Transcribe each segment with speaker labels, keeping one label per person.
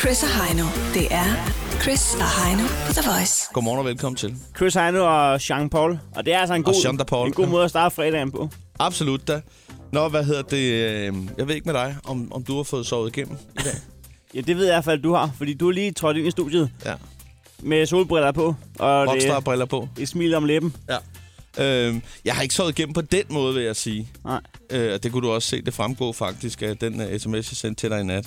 Speaker 1: Chris og Heino. Det er Chris og Heino på The Voice.
Speaker 2: Godmorgen og velkommen til.
Speaker 3: Chris Heino og Jean-Paul. Og det er altså
Speaker 2: Og
Speaker 3: en god,
Speaker 2: Jean-Paul,
Speaker 3: en god
Speaker 2: ja.
Speaker 3: måde at starte fredagen på.
Speaker 2: Absolut da. Nå, hvad hedder det? øh, Jeg ved ikke med dig, om, om du har fået sovet igennem i dag.
Speaker 3: Ja, det ved jeg i hvert fald, du har. Fordi du er lige trådt ind i studiet
Speaker 2: Ja.
Speaker 3: med solbriller på. Og det,
Speaker 2: Rockstar-briller på.
Speaker 3: et smil om læben.
Speaker 2: Ja. Øhm, jeg har ikke sovet igennem på den måde, vil jeg sige.
Speaker 3: Nej.
Speaker 2: Øh, og det kunne du også se, det fremgår faktisk af den uh, sms, jeg sendte til dig i nat.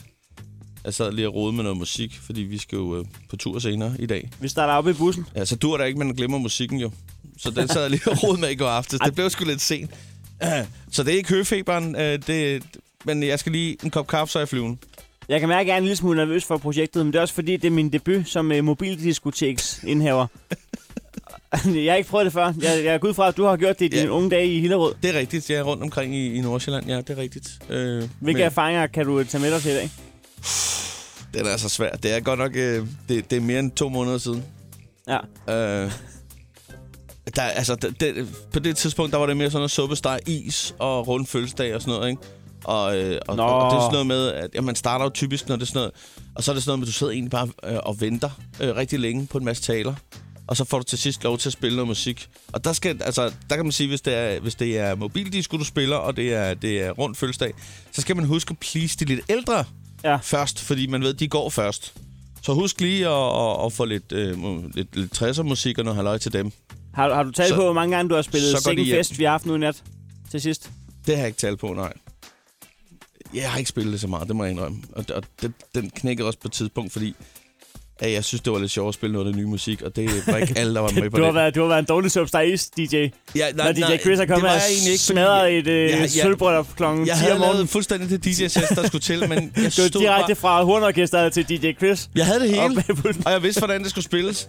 Speaker 2: Jeg sad lige og rode med noget musik, fordi vi skal jo øh, på tur senere i dag.
Speaker 3: Vi starter op i bussen.
Speaker 2: Ja, så dur Altså, der ikke, man glemmer musikken jo. Så den sad jeg lige og rode med i går aftes. Det blev sgu lidt sent. Så det er ikke høfeberen, øh, det, men jeg skal lige en kop kaffe, så er jeg flyven.
Speaker 3: Jeg kan mærke, at jeg er en lille smule nervøs for projektet, men det er også fordi, det er min debut som uh, mobildiskoteksindhaver. jeg har ikke prøvet det før. Jeg, jeg er ud fra, at du har gjort det i dine
Speaker 2: Ja.
Speaker 3: unge dage i Hillerød.
Speaker 2: Det er rigtigt, jeg er rundt omkring i, i Nordsjælland, ja, det er rigtigt. Øh,
Speaker 3: Hvilke erfaringer kan du øh, tage med dig til i dag?
Speaker 2: Den er så svær. Det er godt nok, øh, det, det er mere end to måneder siden.
Speaker 3: Ja.
Speaker 2: Øh, der, altså, det, det, på det tidspunkt, der var det mere sådan noget suppesteg, is og rund fødselsdag og sådan noget, ikke? Og, øh, og,
Speaker 3: Nå.
Speaker 2: og, og det er sådan noget med, at ja, man starter jo typisk, når det er sådan noget, og så er det sådan noget med, at du sidder egentlig bare øh, og venter øh, rigtig længe på en masse taler, og så får du til sidst lov til at spille noget musik. Og der, skal, altså, der kan man sige, hvis det er, hvis det er mobildisco, du spiller, og det er, det er rundt fødselsdag, så skal man huske at please de lidt ældre
Speaker 3: Ja.
Speaker 2: først, fordi man ved, at de går først. Så husk lige at, at, at få lidt, øh, mu- lidt, lidt 60'er musik og noget halvøj til dem.
Speaker 3: Har, har du talt
Speaker 2: Så-
Speaker 3: på, hvor mange gange du har
Speaker 2: så går
Speaker 3: spillet
Speaker 2: de
Speaker 3: Sikken
Speaker 2: hjem.
Speaker 3: Fest, vi har haft nu i nat til sidst?
Speaker 2: Det har jeg ikke talt på, nej. Jeg har ikke spillet det så meget, det må jeg indrømme. Og, og det, den knækkede også på et tidspunkt, fordi at jeg synes, det var lidt sjovt at spille noget af det nye musik, og det var ikke alle, der var med på
Speaker 3: Du har,
Speaker 2: det.
Speaker 3: været, du har været en dårlig substance DJ.
Speaker 2: Ja,
Speaker 3: Når DJ Chris er
Speaker 2: det
Speaker 3: kommet
Speaker 2: var
Speaker 3: og
Speaker 2: jeg egentlig ikke, fordi
Speaker 3: smadret
Speaker 2: jeg-
Speaker 3: et øh,
Speaker 2: jeg-
Speaker 3: ja,
Speaker 2: jeg-
Speaker 3: sølvbrød klokken 10
Speaker 2: Jeg
Speaker 3: om
Speaker 2: havde
Speaker 3: morgenen.
Speaker 2: lavet fuldstændig det DJ-sæt, der skulle til, men jeg
Speaker 3: Du
Speaker 2: stod
Speaker 3: er direkte
Speaker 2: bare...
Speaker 3: fra hornorkestret til DJ Chris.
Speaker 2: Jeg havde det
Speaker 3: Op
Speaker 2: hele.
Speaker 3: med pulten.
Speaker 2: og jeg vidste, hvordan det skulle spilles.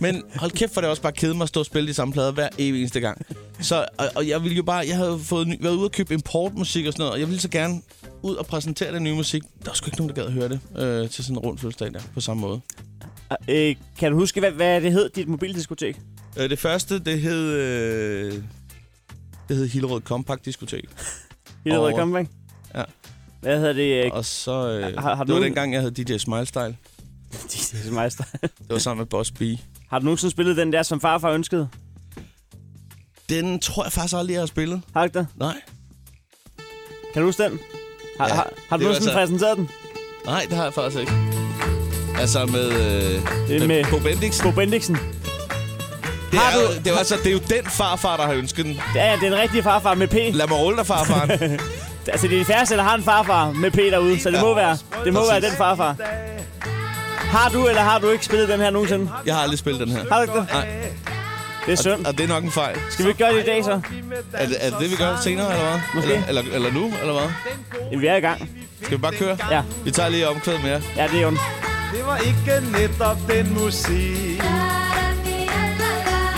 Speaker 2: Men hold kæft, for det også bare kede mig at stå og spille de samme plader hver evig eneste gang. Så, og, og jeg ville jo bare, jeg havde fået ny, været ude og købe importmusik og sådan noget, og jeg ville så gerne ud og præsentere den nye musik. Der var sgu ikke nogen, der gad at høre det øh, til sådan en rund fødselsdag der, på samme måde.
Speaker 3: Øh, kan du huske, hvad, hvad det hed, dit mobildiskotek?
Speaker 2: Øh, det første, det hed... Øh, det hed Hillerød Compact Diskotek.
Speaker 3: Hillerød
Speaker 2: Over.
Speaker 3: Comeback?
Speaker 2: Ja.
Speaker 3: Hvad hedder det? Øh,
Speaker 2: Og så... Øh,
Speaker 3: Har- har
Speaker 2: det var
Speaker 3: du nogen-
Speaker 2: dengang, jeg havde DJ Smile Style.
Speaker 3: Jesus Meister.
Speaker 2: Det var sammen med Boss B.
Speaker 3: Har du nogensinde spillet den der, som farfar ønskede?
Speaker 2: Den tror jeg faktisk aldrig, jeg har spillet.
Speaker 3: Har du ikke det?
Speaker 2: Nej.
Speaker 3: Kan du huske den? Har,
Speaker 2: Ja,
Speaker 3: ja, har, har du
Speaker 2: det var altså-
Speaker 3: nogensinde præsenteret den?
Speaker 2: Nej, det har jeg faktisk ikke. Altså med... Øh,
Speaker 3: Det er med
Speaker 2: Bo Bendix.
Speaker 3: Bo Bendiksen.
Speaker 2: Det
Speaker 3: Har
Speaker 2: er, jo,
Speaker 3: du-
Speaker 2: det, er jo, altså, det er jo den farfar, der har ønsket den.
Speaker 3: Ja, ja, det er den rigtige farfar med P.
Speaker 2: Lad mig rulle dig, farfaren.
Speaker 3: Altså, det er de færreste, der har en farfar med P derude, så det må være, det må være
Speaker 2: Præcis.
Speaker 3: den farfar. Har du eller har du ikke spillet den her nogensinde?
Speaker 2: Jeg har aldrig spillet den her.
Speaker 3: Har du ikke det?
Speaker 2: Nej.
Speaker 3: Det er synd.
Speaker 2: Og, og det er nok en fejl.
Speaker 3: Skal vi ikke gøre det i dag, så?
Speaker 2: Er det, er det det, vi gør senere, eller hvad?
Speaker 3: Måske.
Speaker 2: Eller, eller, eller nu, eller hvad?
Speaker 3: Ja, vi er i gang.
Speaker 2: Skal vi bare køre?
Speaker 3: Ja,
Speaker 2: Vi tager lige omkvæd mere.
Speaker 3: ja det er jo
Speaker 4: Det var ikke netop den musik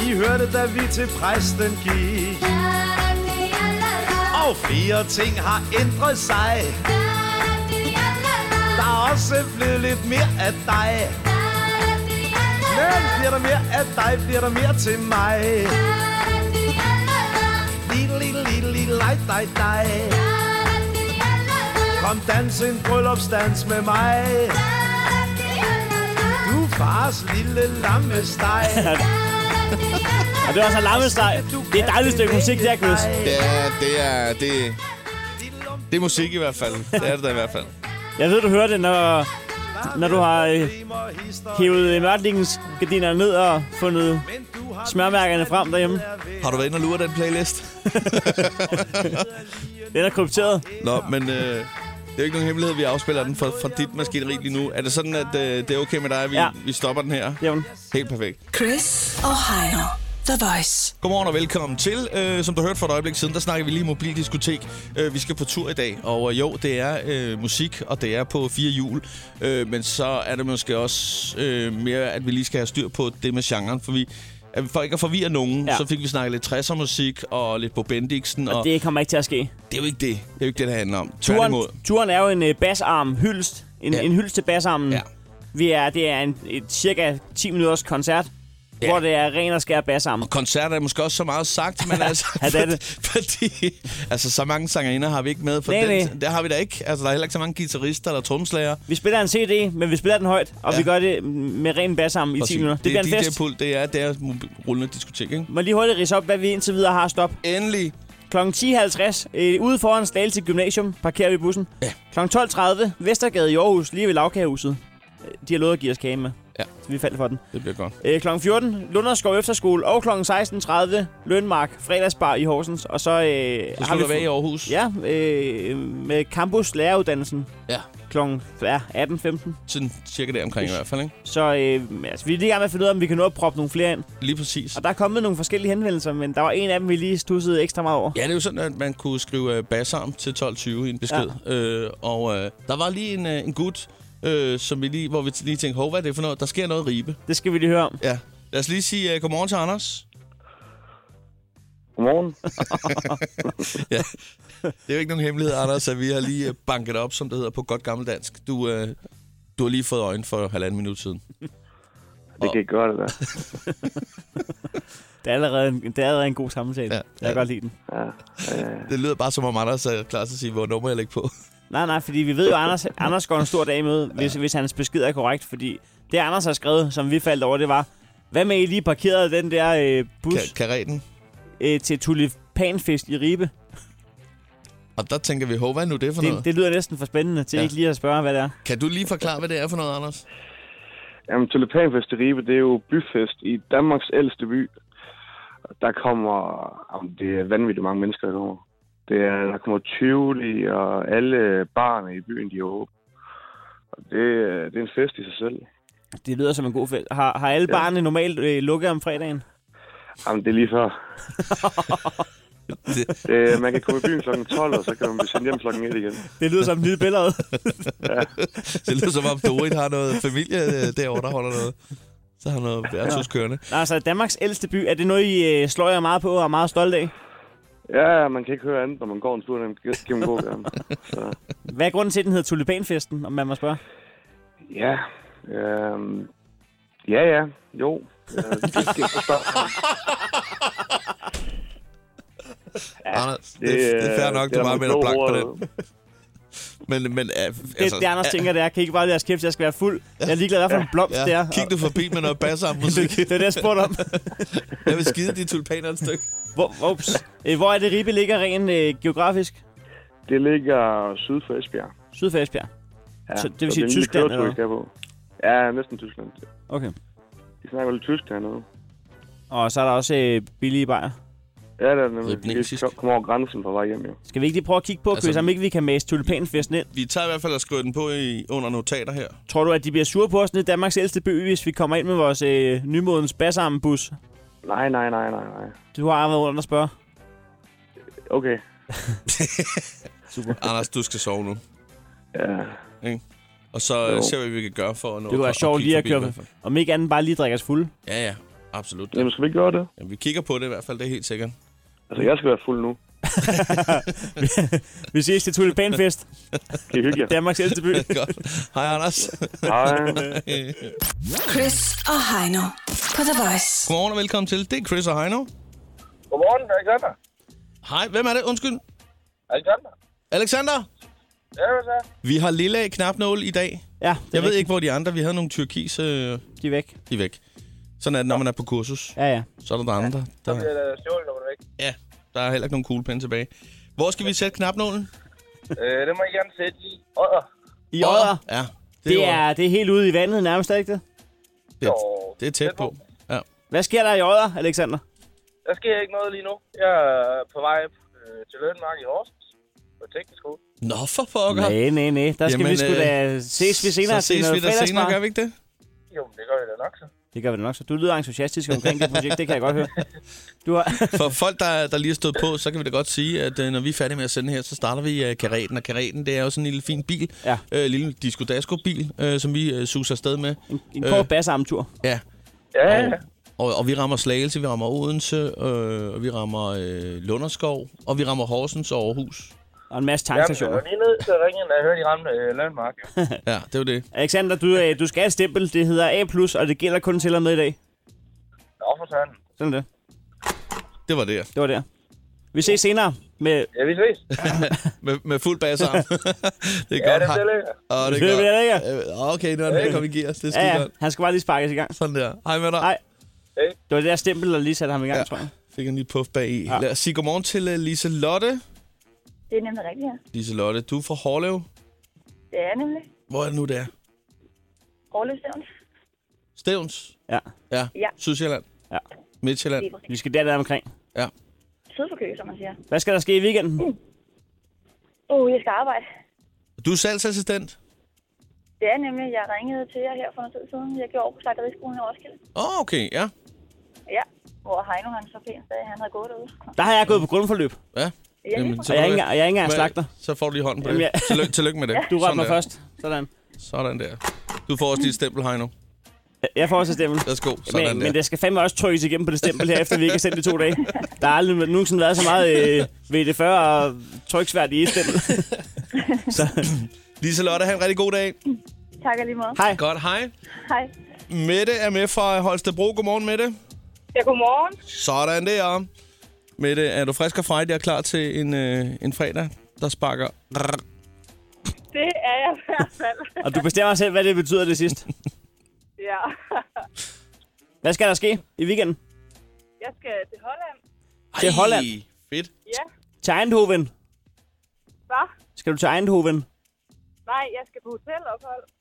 Speaker 4: Vi hørte, da vi til præsten gik Og flere ting har ændret sig Der er også blevet lidt mere af dig Men bliver der mere af dig, bliver der mere til mig Lille, lille, lille, lille, ej, dig, dig Kom dans en bryllupsdans med mig Du er fars lille lammesteg
Speaker 3: Og det var så lammesteg. Det er et dejligt stykke musik, der, Chris.
Speaker 2: Ja, det er... Det, det er musik i hvert fald. Det er det da i hvert fald.
Speaker 3: Jeg ved, du hører det, når, når du har øh, hævet øh, mørtlingens gardiner ned og fundet smørmærkerne frem derhjemme.
Speaker 2: Har du været inde og lure den playlist?
Speaker 3: Den er krypteret.
Speaker 2: Nå, men øh, det er jo ikke nogen hemmelighed, vi afspiller den fra, fra dit maskineri lige nu. Er det sådan, at øh, det er okay med dig, at vi,
Speaker 3: Ja.
Speaker 2: vi stopper den her?
Speaker 3: Jamen,
Speaker 2: Helt perfekt.
Speaker 1: Chris og Heino. The Voice.
Speaker 2: Godmorgen og velkommen til. Øh, som du hørte for et øjeblik siden, der snakker vi lige mobildiskotek. Øh, vi skal på tur i dag, og øh, jo, det er øh, musik, og det er på fire hjul. Øh, men så er det måske også øh, mere, at vi lige skal have styr på det med genren, for vi... at For ikke at forvirre nogen, ja.
Speaker 3: Ja.
Speaker 2: så fik vi snakket lidt 60'er musik og lidt på Bendixen, og, og det...
Speaker 3: det kommer ikke til at ske.
Speaker 2: det er jo ikke det. Det er jo ikke det, det handler om. Tværtimod.
Speaker 3: Turen, turen er jo en øh, basarm hyldst. En,
Speaker 2: Ja.
Speaker 3: ja. en hyldst til basarmen.
Speaker 2: Ja.
Speaker 3: Vi er, det er en, et cirka 10 minutters koncert, ja. hvor det er ren og skær bassarm.
Speaker 2: Og koncerter er måske også så meget sagt, men altså...
Speaker 3: Ja, det er det.
Speaker 2: Fordi, altså, så mange sangerinder har vi ikke med. For
Speaker 3: Nej,
Speaker 2: den,
Speaker 3: nej.
Speaker 2: Det har vi da ikke. Altså, der er heller ikke så mange guitarister eller tromslager.
Speaker 3: Vi spiller en CD, men vi spiller den højt, og
Speaker 2: Ja.
Speaker 3: ja. vi gør det med ren bassarm i 10 minutter. Det,
Speaker 2: det
Speaker 3: det
Speaker 2: er
Speaker 3: bliver en fest.
Speaker 2: DJ-pult, det er deres mobi- rullende diskotek, ikke?
Speaker 3: Må jeg lige hurtigt rise op, hvad vi indtil videre har stop.
Speaker 2: Endelig.
Speaker 3: Kl. 10.50 øh, ude foran Slagelse Gymnasium parkerer vi bussen.
Speaker 2: Ja.
Speaker 3: Kl. 12.30 Vestergade i Aarhus, lige ved lavkagehuset. Øh, De har lovet at give os kage med.
Speaker 2: Ja.
Speaker 3: Så vi faldt for den.
Speaker 2: Det bliver godt.
Speaker 3: Øh, kl. 14 Lunderskov Efterskole og kl. 16.30 Lønmark fredagsbar i Horsens. Og så, øh,
Speaker 2: Så
Speaker 3: har
Speaker 2: skal
Speaker 3: vi
Speaker 2: du være i Aarhus.
Speaker 3: Ja, øh, med campus læreruddannelsen
Speaker 2: ja.
Speaker 3: kl. Ja, 18.15.
Speaker 2: Sådan cirka der omkring i hvert fald, ikke?
Speaker 3: Så øh, altså, vi er lige i gang med at finde ud af, om vi kan nå at proppe nogle flere ind.
Speaker 2: Lige præcis.
Speaker 3: Og der er kommet nogle forskellige henvendelser, men der var en af dem, vi lige stussede ekstra meget over.
Speaker 2: Ja, det er jo sådan, at man kunne skrive øh, bassarm til 12.20 i en besked. Ja. Øh, og øh, der var lige en, øh, en gut, øh, som vi lige, hvor vi t- lige tænkte, hov, hvad er det for noget? Der sker noget i ribe.
Speaker 3: Det skal vi lige høre om.
Speaker 2: Ja. Lad os lige sige øh, godmorgen til Anders.
Speaker 5: Godmorgen.
Speaker 2: ja. Det er jo ikke nogen hemmelighed, Anders, at vi har lige øh, banket op, som det hedder på godt gammeldansk. Du, øh, du har lige fået øjne for halvanden minut siden.
Speaker 5: Det kan ikke gøre det der.
Speaker 3: Det er allerede en, det er allerede en god
Speaker 2: Ja.
Speaker 3: samtale. Ja. Jeg
Speaker 2: Ja.
Speaker 3: kan godt lide den.
Speaker 5: Ja. Øh,
Speaker 2: Det lyder bare som om Anders er klar til at sige, hvor nummer jeg lægger på.
Speaker 3: Nej, nej, fordi vi ved jo, at Anders, Anders går en stor dag med, hvis, hvis hans besked er korrekt. Fordi det, Anders har skrevet, som vi faldt over, det var... Hvad med, I lige parkerede den der øh, bus
Speaker 2: Ka- Karetten.
Speaker 3: øh, til tulipanfest i Ribe?
Speaker 2: Og der tænker vi, hov, hvad er nu det for noget?
Speaker 3: Det, det lyder næsten for spændende til
Speaker 2: Ja.
Speaker 3: ja. ikke lige at spørge, hvad det er.
Speaker 2: Kan du lige forklare, hvad det er for noget, Anders?
Speaker 5: jamen, Tulipanfest i Ribe, det er jo byfest i Danmarks ældste by. Og Der kommer... Jamen, det er vanvittigt mange mennesker, der kommer. Det er, der kommer 20 og alle barne i byen, de er åbne. Og det, er- det er en fest i sig selv.
Speaker 3: Det lyder som en god fest. Har, har alle ja.
Speaker 5: Ja.
Speaker 3: barne normalt øh, lukket om fredagen?
Speaker 5: Jamen, det er lige før.
Speaker 2: Det,
Speaker 5: Det, man kan komme i byen kl. 12, og så kan man blive sendt hjem kl. 1 igen.
Speaker 3: Det lyder som et nyt billede.
Speaker 2: det lyder som om, Dorit har noget familie øh, derovre, der holder noget. Så har han noget værtshus kørende.
Speaker 3: Nå, altså, Danmarks ældste by, er det noget, I øh, slår jer meget på og er meget stolte af?
Speaker 5: Ja, man kan ikke høre andet, når man går en tur gennem gågaden. Så.
Speaker 3: Hvad er grunden til, at den hedder Tulipanfesten, om man må spørge?
Speaker 5: Ja, øhm, ja, ja, jo. Øh, det, det,
Speaker 2: Ja, Anders, det, det, det er
Speaker 3: øh,
Speaker 2: fair nok,
Speaker 5: øh,
Speaker 2: du bare melder blank på den. Men, men øh,
Speaker 3: Det, altså, det Anders
Speaker 2: øh,
Speaker 3: tænker, det er, kan I ikke bare lade jeres kæft, jeg skal være fuld. Jeg er ligeglad, hvad for en blomst det er.
Speaker 2: Ja, kig du forbi med noget basser musik.
Speaker 3: det, det er det, jeg spurgte om.
Speaker 2: Jeg vil skide de tulpaner et stykke.
Speaker 3: Hvor, ups. Øh, Hvor er det, Ribe ligger rent øh, geografisk?
Speaker 5: Det ligger syd for Esbjerg.
Speaker 3: Syd for Esbjerg.
Speaker 5: Ja,
Speaker 3: Så det vil
Speaker 5: og
Speaker 3: sige
Speaker 5: en lille
Speaker 3: Tyskland,
Speaker 5: køretur,
Speaker 3: eller
Speaker 5: vi skal på. Ja, næsten Tyskland.
Speaker 3: Okay.
Speaker 5: De snakker lidt tysk dernede.
Speaker 3: Og så er der også øh, billige bajer.
Speaker 5: Ja, det er det nemlig. Vi
Speaker 2: Ribningsisk.
Speaker 5: kom- kommer over grænsen på vej hjem, jo.
Speaker 3: Skal vi ikke lige prøve at kigge på,
Speaker 2: Altså-
Speaker 3: altså, Chris, om ikke vi kan mase tulipanfesten ind?
Speaker 2: Vi tager i hvert fald og skriver den på i, under notater her.
Speaker 3: Tror du, at de bliver sure på os nede i Danmarks ældste by, hvis vi kommer ind med vores øh, nymodens bassarmbus?
Speaker 5: Nej, nej, nej, nej, nej.
Speaker 3: Du har været rundt og spørge.
Speaker 5: Okay.
Speaker 3: Super.
Speaker 2: Anders, du skal sove nu.
Speaker 5: Ja,
Speaker 2: Og så øh,
Speaker 5: Jo.
Speaker 2: ser vi, hvad vi kan gøre for at nå
Speaker 3: Det kunne være
Speaker 2: at- at
Speaker 3: sjovt
Speaker 2: kigge
Speaker 3: lige at
Speaker 2: forbi
Speaker 3: køre
Speaker 2: i hvert fald.
Speaker 3: Om ikke andet bare lige drikke os fulde.
Speaker 2: Ja, ja. Absolut.
Speaker 5: jamen skal vi ikke gøre det?
Speaker 2: Jamen, vi kigger på det i hvert fald, det er helt sikkert.
Speaker 5: Altså, jeg skal være fuld nu.
Speaker 3: Vi ses til tulipanfest,
Speaker 5: Kan I hygge jer?
Speaker 3: Danmarks ældste by.
Speaker 2: Godt. Hej, Anders.
Speaker 5: Hej.
Speaker 1: Chris og Heino på The Voice.
Speaker 2: Godmorgen og velkommen til. Det er Chris og Heino.
Speaker 6: Godmorgen, det er Alexander.
Speaker 2: Hej, hvem er det? Undskyld.
Speaker 6: Alexander?
Speaker 2: Alexander,
Speaker 6: Ja, hvad så?
Speaker 2: vi har lilla knapnål i dag.
Speaker 3: Ja, det
Speaker 2: Jeg ved ikke, hvor de andre... Vi havde nogle tyrkis, øh,
Speaker 3: De er væk.
Speaker 2: de er væk. Sådan er det, når man er på kursus.
Speaker 3: Ja, ja.
Speaker 2: Så er der, der andre.
Speaker 6: Så bliver
Speaker 2: Der,
Speaker 6: der stjålet, når man er væk.
Speaker 2: ja, der er heller ikke nogen kuglepinde tilbage. Hvor skal vi sætte knapnålen?
Speaker 6: øh, det må jeg gerne sætte i. Åh,
Speaker 3: I Odder.
Speaker 2: Ja, det,
Speaker 3: Det
Speaker 2: er,
Speaker 3: er, det er helt ude i vandet nærmest, er det ikke det?
Speaker 2: det, det er tæt på. Ja.
Speaker 3: Hvad sker der i Odder, Alexander?
Speaker 6: der sker ikke noget lige nu. Jeg er på vej øh, til Lønmark i Horsens på teknisk skole.
Speaker 2: Nå, for pokker.
Speaker 3: Nej, nej, nej. Der skal
Speaker 2: Jamen,
Speaker 3: Jamen, vi sgu
Speaker 2: øh,
Speaker 3: da... Ses vi senere
Speaker 2: så ses
Speaker 3: til
Speaker 2: vi
Speaker 3: noget
Speaker 2: der senere,
Speaker 3: fredagsbar.
Speaker 2: gør vi ikke det?
Speaker 6: Jo, men det gør vi da nok så.
Speaker 3: Det gør vi da nok, så du lyder entusiastisk omkring det projekt, det kan jeg godt høre. Du har...
Speaker 2: For folk, der, der lige er stået på, så kan vi da godt sige, at øh, når vi er færdige med at sende her, så starter vi øh, karaten. Og karaten, det er jo sådan en lille fin bil.
Speaker 3: Ja.
Speaker 2: Øh, lille disco-dasko-bil, øh, som vi øh, suser afsted med.
Speaker 3: En
Speaker 2: Øh.
Speaker 3: kort bassarmtur.
Speaker 2: Ja,
Speaker 6: Ja, ja.
Speaker 2: Og, og, og vi rammer Slagelse, vi rammer Odense, øh, og vi rammer øh, Lunderskov, og vi rammer Horsens og Aarhus.
Speaker 3: Og en masse
Speaker 6: Jamen, jeg
Speaker 3: tankstationer.
Speaker 6: var lige ned til at ringe, da jeg hørte, I ramte øh, Lønmark. Jo.
Speaker 2: Ja, det var det.
Speaker 3: Alexander, du, øh, du skal have et stempel. Det hedder A+, og det gælder kun til og med i dag.
Speaker 6: Nå, for søren.
Speaker 3: Sådan er det.
Speaker 2: Det var det.
Speaker 3: Det var der. Vi ses senere med...
Speaker 6: Ja, vi ses.
Speaker 2: Med, med fuld bassarm. det er
Speaker 6: Ja,
Speaker 2: godt.
Speaker 6: det
Speaker 2: hej.
Speaker 6: bliver lækkert.
Speaker 2: Åh, det
Speaker 3: Det
Speaker 2: er
Speaker 3: bliver
Speaker 2: godt. Øh, Okay, nu er den ved at komme i gear. Det er
Speaker 3: Ja,
Speaker 2: skidt
Speaker 3: ja,
Speaker 2: godt.
Speaker 3: han skal bare lige sparkes i gang.
Speaker 2: Sådan der. Hej med dig.
Speaker 3: Hej.
Speaker 6: Hey.
Speaker 3: Det var det der stempel, der lige satte ham i gang,
Speaker 2: Ja.
Speaker 3: ja. tror jeg.
Speaker 2: Fik en lille puff bag i.
Speaker 3: Ja.
Speaker 2: Lad os sige godmorgen til uh, Lise Lotte.
Speaker 7: Det er nemlig rigtigt, ja.
Speaker 2: Lise Lotte, du er fra Hårlev.
Speaker 7: Det er nemlig.
Speaker 2: Hvor er det nu, det er?
Speaker 7: Gråløsævn.
Speaker 2: Stævns?
Speaker 3: Ja.
Speaker 2: Ja.
Speaker 7: Ja.
Speaker 2: Sydsjælland?
Speaker 3: Ja.
Speaker 2: Midtjylland?
Speaker 7: Lige præcis.
Speaker 3: Vi skal der, der omkring.
Speaker 7: Syd for kø, som man siger.
Speaker 3: Hvad skal der ske i weekenden?
Speaker 7: Uh, jeg skal arbejde.
Speaker 2: Du er salgsassistent?
Speaker 7: Det er nemlig, jeg ringede til jer her for en tid siden. Jeg gjorde over på slagteriskolen i Roskilde.
Speaker 2: Åh, oh, okay, ja.
Speaker 7: Ja, hvor Heino han så pænt sagde, at han havde gået derude.
Speaker 3: Der har jeg gået på grundforløb,
Speaker 2: ja.
Speaker 7: Ja, lige præcis.
Speaker 3: og jeg er ikke, engang- jeg er ikke engang
Speaker 2: Hvad-
Speaker 3: slagter.
Speaker 2: Så får du lige hånden på
Speaker 3: Jamen,
Speaker 2: det.
Speaker 3: ja.
Speaker 2: Tillykke, tillykke med det.
Speaker 3: Du rørte
Speaker 2: Sådan
Speaker 3: mig
Speaker 2: der.
Speaker 3: først. Sådan.
Speaker 2: Sådan der. Du får også dit stempel, Heino.
Speaker 3: Jeg får også et stempel.
Speaker 2: Værsgo. Sådan
Speaker 3: Men,
Speaker 2: der.
Speaker 3: men det skal fandme også trykkes igennem på det stempel her, efter vi ikke har sendt det i to dage. Der har aldrig nogensinde været så meget øh, VD40 og tryksvært i et stempel. så,
Speaker 2: Lise Lotte, have en rigtig god dag.
Speaker 7: Tak og lige måde.
Speaker 3: hej.
Speaker 2: Godt, hej.
Speaker 7: Hej.
Speaker 2: Mette er med fra Holstebro. Godmorgen, Mette.
Speaker 7: Ja, godmorgen.
Speaker 2: Sådan der. Mette, er du frisk og frejdig og klar til en, øh, en fredag, der sparker?
Speaker 7: Det er jeg i hvert fald.
Speaker 3: Og du bestemmer selv, hvad det betyder det sidst.
Speaker 7: ja.
Speaker 3: Hvad skal der ske i weekenden?
Speaker 7: Jeg skal til Holland.
Speaker 3: Til
Speaker 2: Ej,
Speaker 3: Holland.
Speaker 2: Fedt.
Speaker 7: Ja.
Speaker 3: Til Eindhoven.
Speaker 7: Hvad?
Speaker 3: Skal du til Eindhoven?
Speaker 7: Nej, jeg skal på hotelophold.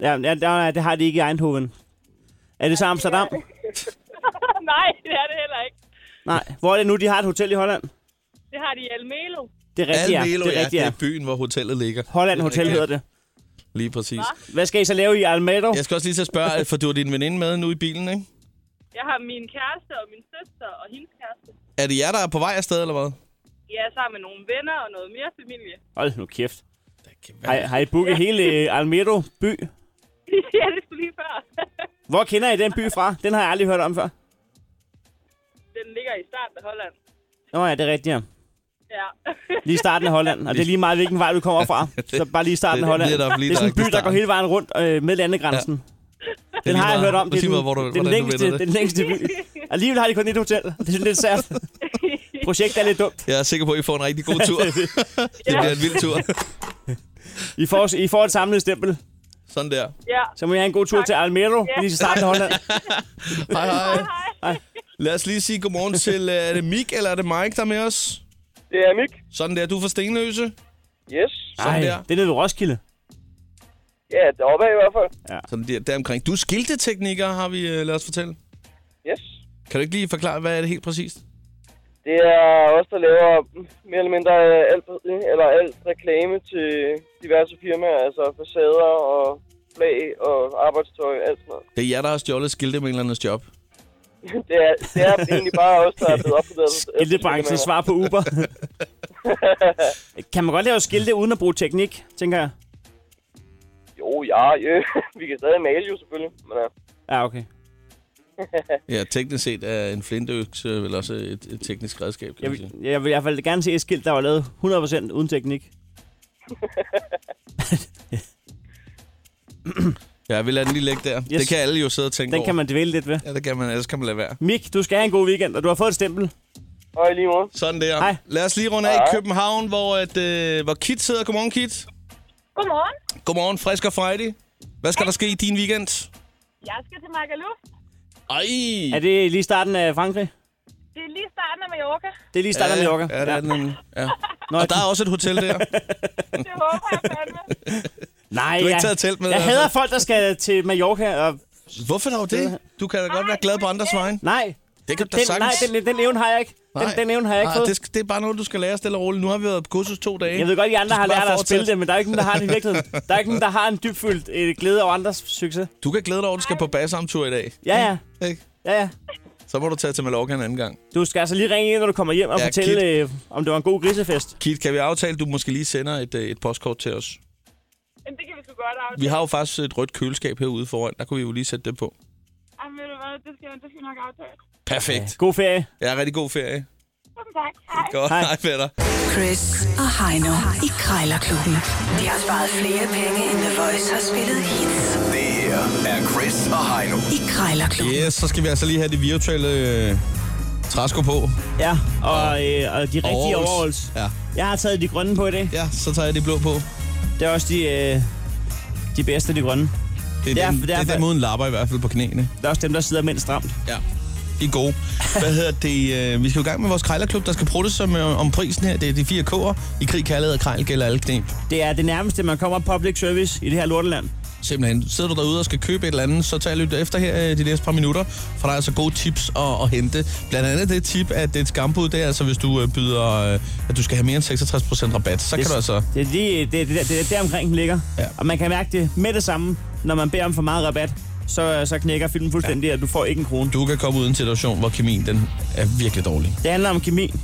Speaker 3: Ja, ja der, det har de ikke i Eindhoven. Er det så Amsterdam?
Speaker 7: Nej, det er det heller ikke.
Speaker 3: Nej. Hvor er det nu, de har et hotel i Holland?
Speaker 7: Det har de i Almelo.
Speaker 3: Det er rigtigt, ja.
Speaker 2: Almelo,
Speaker 3: Det
Speaker 2: ja,
Speaker 3: er rigtigt,
Speaker 2: det er
Speaker 3: ja.
Speaker 2: byen, hvor hotellet ligger.
Speaker 3: Holland Hotel
Speaker 2: Ja.
Speaker 3: hedder det.
Speaker 2: Lige præcis.
Speaker 3: Hvad skal I så lave i Almelo?
Speaker 2: Jeg skal også lige til at spørge, for du har din veninde med nu i bilen, ikke?
Speaker 7: Jeg har min kæreste og min søster og hendes kæreste.
Speaker 2: Er det jer, der er på vej afsted, eller hvad?
Speaker 7: Ja, sammen med nogle venner og noget mere familie.
Speaker 3: Hold nu kæft. Har, har I booket hele øh, Almelo by?
Speaker 7: ja, det skulle lige før.
Speaker 3: Hvor kender I den by fra? Den har jeg aldrig hørt om før.
Speaker 7: Den ligger i starten af Holland.
Speaker 3: Nå ja, det er rigtigt, ja.
Speaker 7: Ja.
Speaker 3: Lige i starten af Holland. Og det er lige meget, hvilken vej du kommer fra. Så bare lige i starten
Speaker 2: det-
Speaker 3: af Holland.
Speaker 2: det er der- lige
Speaker 3: det er sådan en
Speaker 2: der-
Speaker 3: by, der går hele vejen rundt øh, med landegrænsen. Den har jeg hørt om. Det er
Speaker 2: Sig mig,
Speaker 3: den,
Speaker 2: hvor du,
Speaker 3: den,
Speaker 2: hvordan du
Speaker 3: længste,
Speaker 2: vinder det.
Speaker 3: den længste by. Alligevel har de kun et hotel. Det er sådan lidt sært. Projektet er lidt dumt.
Speaker 2: Jeg er sikker på, at I får en rigtig god tur. det bliver en vild tur.
Speaker 3: I får, I får et samlet stempel.
Speaker 2: Sådan der.
Speaker 7: ja.
Speaker 3: Så må jeg have en god tur til Almelo, lige i starten af Holland.
Speaker 2: Hej, hej. Lad os lige sige godmorgen til, øh, er det Mik eller er det Mike, der er med os?
Speaker 6: Det er Mik.
Speaker 2: Sådan der, du er fra Stenløse.
Speaker 6: Yes.
Speaker 3: Nej,
Speaker 2: der.
Speaker 3: det er nede ved Roskilde.
Speaker 6: Ja, deroppe af i hvert fald.
Speaker 2: Sådan der, der omkring. Du er skiltetekniker, har vi øh, lad os fortælle.
Speaker 6: Yes.
Speaker 2: Kan du ikke lige forklare, hvad er det helt præcist?
Speaker 6: Det er os, der laver mere eller mindre øh, alt, eller alt reklame til diverse firmaer. Altså facader og flag og arbejdstøj alt sådan noget.
Speaker 2: Det er jer, der har stjålet skiltemælernes job.
Speaker 6: Det er, det er egentlig bare os, der er blevet opdateret.
Speaker 3: Skiltebranchen svar på Uber. kan man godt lave skilte uden at bruge teknik, tænker jeg?
Speaker 6: Jo, ja, ja. Vi kan stadig male jo selvfølgelig. Men ja.
Speaker 3: Ja, okay.
Speaker 2: Ja, teknisk set er en flintøkse vel også et, et teknisk redskab, kan
Speaker 3: Jeg
Speaker 2: man
Speaker 3: vil,
Speaker 2: sige.
Speaker 3: jeg vil i hvert fald gerne se et skilt, der var lavet 100% uden teknik.
Speaker 2: Ja, vi lader den lige ligge der. Yes. Det kan alle jo sidde og tænke
Speaker 3: Den
Speaker 2: over.
Speaker 3: kan man dvæle lidt ved.
Speaker 2: Ja, det kan man, ellers kan man lade være.
Speaker 3: Mik, du skal have en god weekend, og du har fået et stempel.
Speaker 6: Og i lige måde.
Speaker 2: Sådan der.
Speaker 3: Hej.
Speaker 2: Lad os lige runde af i København, hvor, at, øh, hvor Kit sidder. Godmorgen, Kit.
Speaker 7: Godmorgen.
Speaker 2: Godmorgen, frisk og Friday. Hvad skal der ske i din weekend?
Speaker 7: Jeg skal til Magaluf.
Speaker 2: Ej!
Speaker 3: Er det lige starten af Frankrig?
Speaker 7: Det er lige starten af Mallorca.
Speaker 3: Det er lige starten af Mallorca.
Speaker 2: Ja, det er den. nemlig. Ja.
Speaker 3: Nå,
Speaker 2: Og der er også et hotel der.
Speaker 7: Det håber jeg fandme.
Speaker 3: Nej,
Speaker 2: Du har ikke
Speaker 3: jeg-
Speaker 2: taget telt med?
Speaker 3: Jeg
Speaker 2: altså.
Speaker 3: hader folk, der skal til Mallorca. Og...
Speaker 2: Hvorfor dog det? Du kan da godt være glad på andres vegne.
Speaker 3: Nej,
Speaker 2: Det kan du da
Speaker 3: den, nej
Speaker 2: sagtens.
Speaker 3: den, den evne har jeg ikke. Den, den evne har jeg ikke
Speaker 2: Nej,
Speaker 3: fået.
Speaker 2: Det, skal- det er bare noget, du skal lære stille og roligt. Nu har vi været på kursus to dage.
Speaker 3: Jeg ved godt, at I andre
Speaker 2: skal
Speaker 3: har
Speaker 2: bare
Speaker 3: lært at
Speaker 2: fortsætte.
Speaker 3: spille det, men der er ikke nogen, der har det i virkeligheden. Der er ikke nogen, der har en dybfyldt øh, glæde over andres succes.
Speaker 2: Du kan glæde dig over, at du skal på basamtur i dag.
Speaker 3: Ja, ja.
Speaker 2: Ikke?
Speaker 3: ja, ja.
Speaker 2: Så må du tage til Mallorca en anden gang.
Speaker 3: Du skal altså lige ringe ind, når du kommer hjem og
Speaker 2: Ja,
Speaker 3: ja, fortælle, øh, om det var en god grisefest.
Speaker 2: Kit, kan vi aftale, at du måske lige sender et, øh, et postkort til os?
Speaker 7: Jamen, det kan vi sgu godt af.
Speaker 2: Vi har jo faktisk et rødt køleskab herude foran. Der kunne vi jo lige sætte det på.
Speaker 7: Jamen, ved du hvad, det skal, det skal vi nok aftale.
Speaker 2: Perfekt.
Speaker 3: God ferie.
Speaker 2: Ja, rigtig god ferie.
Speaker 7: Tusind tak. Hej.
Speaker 2: Godt.
Speaker 3: Hej.
Speaker 2: Hej, fætter.
Speaker 1: Chris og Heino i Krejlerklubben. De har sparet flere penge, end The Voice har spillet hits.
Speaker 8: Det her er Chris og Heino.
Speaker 1: I Krejlerklubben.
Speaker 2: Yes, så skal vi altså lige have de virtuelle øh, træsko på.
Speaker 3: Ja, og, øh, og de rigtige
Speaker 2: Overalls.
Speaker 3: overholds.
Speaker 2: Ja.
Speaker 3: Jeg har taget de grønne på i dag.
Speaker 2: Ja, så tager jeg de blå på.
Speaker 3: Det er også de, øh, de bedste, de grønne.
Speaker 2: Det
Speaker 3: Det
Speaker 2: er,
Speaker 3: er-
Speaker 2: den,
Speaker 3: det
Speaker 2: det
Speaker 3: er
Speaker 2: er,
Speaker 3: fa-
Speaker 2: den måde, en lapper i hvert fald på knæene.
Speaker 3: Det er også dem, der sidder mindst stramt.
Speaker 2: Ja. De er gode. Hvad hedder det? øh, Vi skal jo i gang med vores krejlerklub, der skal pruttes som, øh, om prisen her. Det er de fire K'er. I krig, kærlighed og krejl gælder alle knep.
Speaker 3: Det er det nærmeste, man kommer public service i det her lorteland.
Speaker 2: Simpelthen. Sidder du derude og skal købe et eller andet, så tag og lyt efter her øh, de næste par minutter, for der er altså gode tips at, at hente. Blandt andet det tip, at det er et skambud, det er altså, hvis du øh, byder, øh, at du skal have mere end 66% rabat, så kan du altså...
Speaker 3: Det er, lige, det, det, det, det er der omkring, den ligger.
Speaker 2: Ja.
Speaker 3: Og man kan mærke det med det samme, når man beder om for meget rabat. Så, så knækker filmen fuldstændig, ja. og du får ikke en krone.
Speaker 2: Du kan komme ud i en situation, hvor kemien den er virkelig dårlig.
Speaker 3: Det handler om kemi.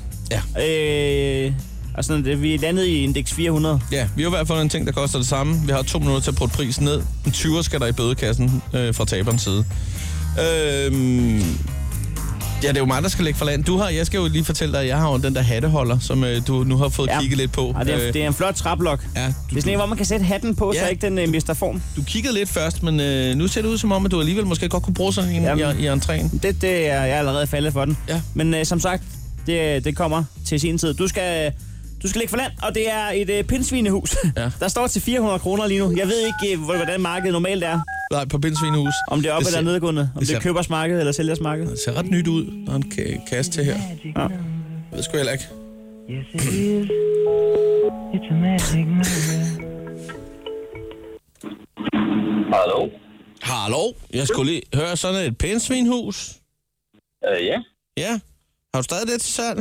Speaker 2: Ja.
Speaker 3: Øh, og sådan, det, vi er landet i indeks 400.
Speaker 2: Ja, vi har i hvert fald en ting, der koster det samme. Vi har to minutter til at putte prisen ned. En 20'er skal der i bødekassen øh, fra taberens side. Øhm, ja, det er jo mig, der skal lægge for land. Du har, jeg skal jo lige fortælle dig, at jeg har jo den der hatteholder, som øh, du nu har fået ja. kigget lidt på.
Speaker 3: Og det, er, øh, det er en flot traplok.
Speaker 2: ja,
Speaker 3: Det er sådan en, hvor man kan sætte hatten på, ja. så
Speaker 2: Ja.
Speaker 3: ikke den øh, mister form.
Speaker 2: Du kiggede lidt først, men øh, nu ser det ud som om, at du alligevel måske godt kunne bruge sådan en
Speaker 3: Jamen.
Speaker 2: i, i entréen.
Speaker 3: Det, det er jeg er allerede faldet for den.
Speaker 2: Ja.
Speaker 3: Men øh, som sagt, det, det kommer til sin tid. Du skal, du skal ligge for land, og det er et øh, pindsvinehus.
Speaker 2: Ja.
Speaker 3: Der står til 400 kroner lige nu. Jeg ved ikke, øh, hvor- hvordan markedet normalt er.
Speaker 2: Nej, på Bindsvinehus.
Speaker 3: Om det er op
Speaker 2: Det
Speaker 3: eller
Speaker 2: ser-
Speaker 3: nedgående. Om
Speaker 2: det
Speaker 3: det,
Speaker 2: ser-
Speaker 3: er købersmarked eller sælgersmarked.
Speaker 2: Det ser ret nyt ud. Der er en ka- kasse til her. Ja. Jeg ved sgu heller ikke.
Speaker 8: Hallo?
Speaker 2: Hallo, jeg skulle lige høre sådan et pindsvinhus.
Speaker 8: Øh, ja.
Speaker 2: Ja. Har du stadig det til salg?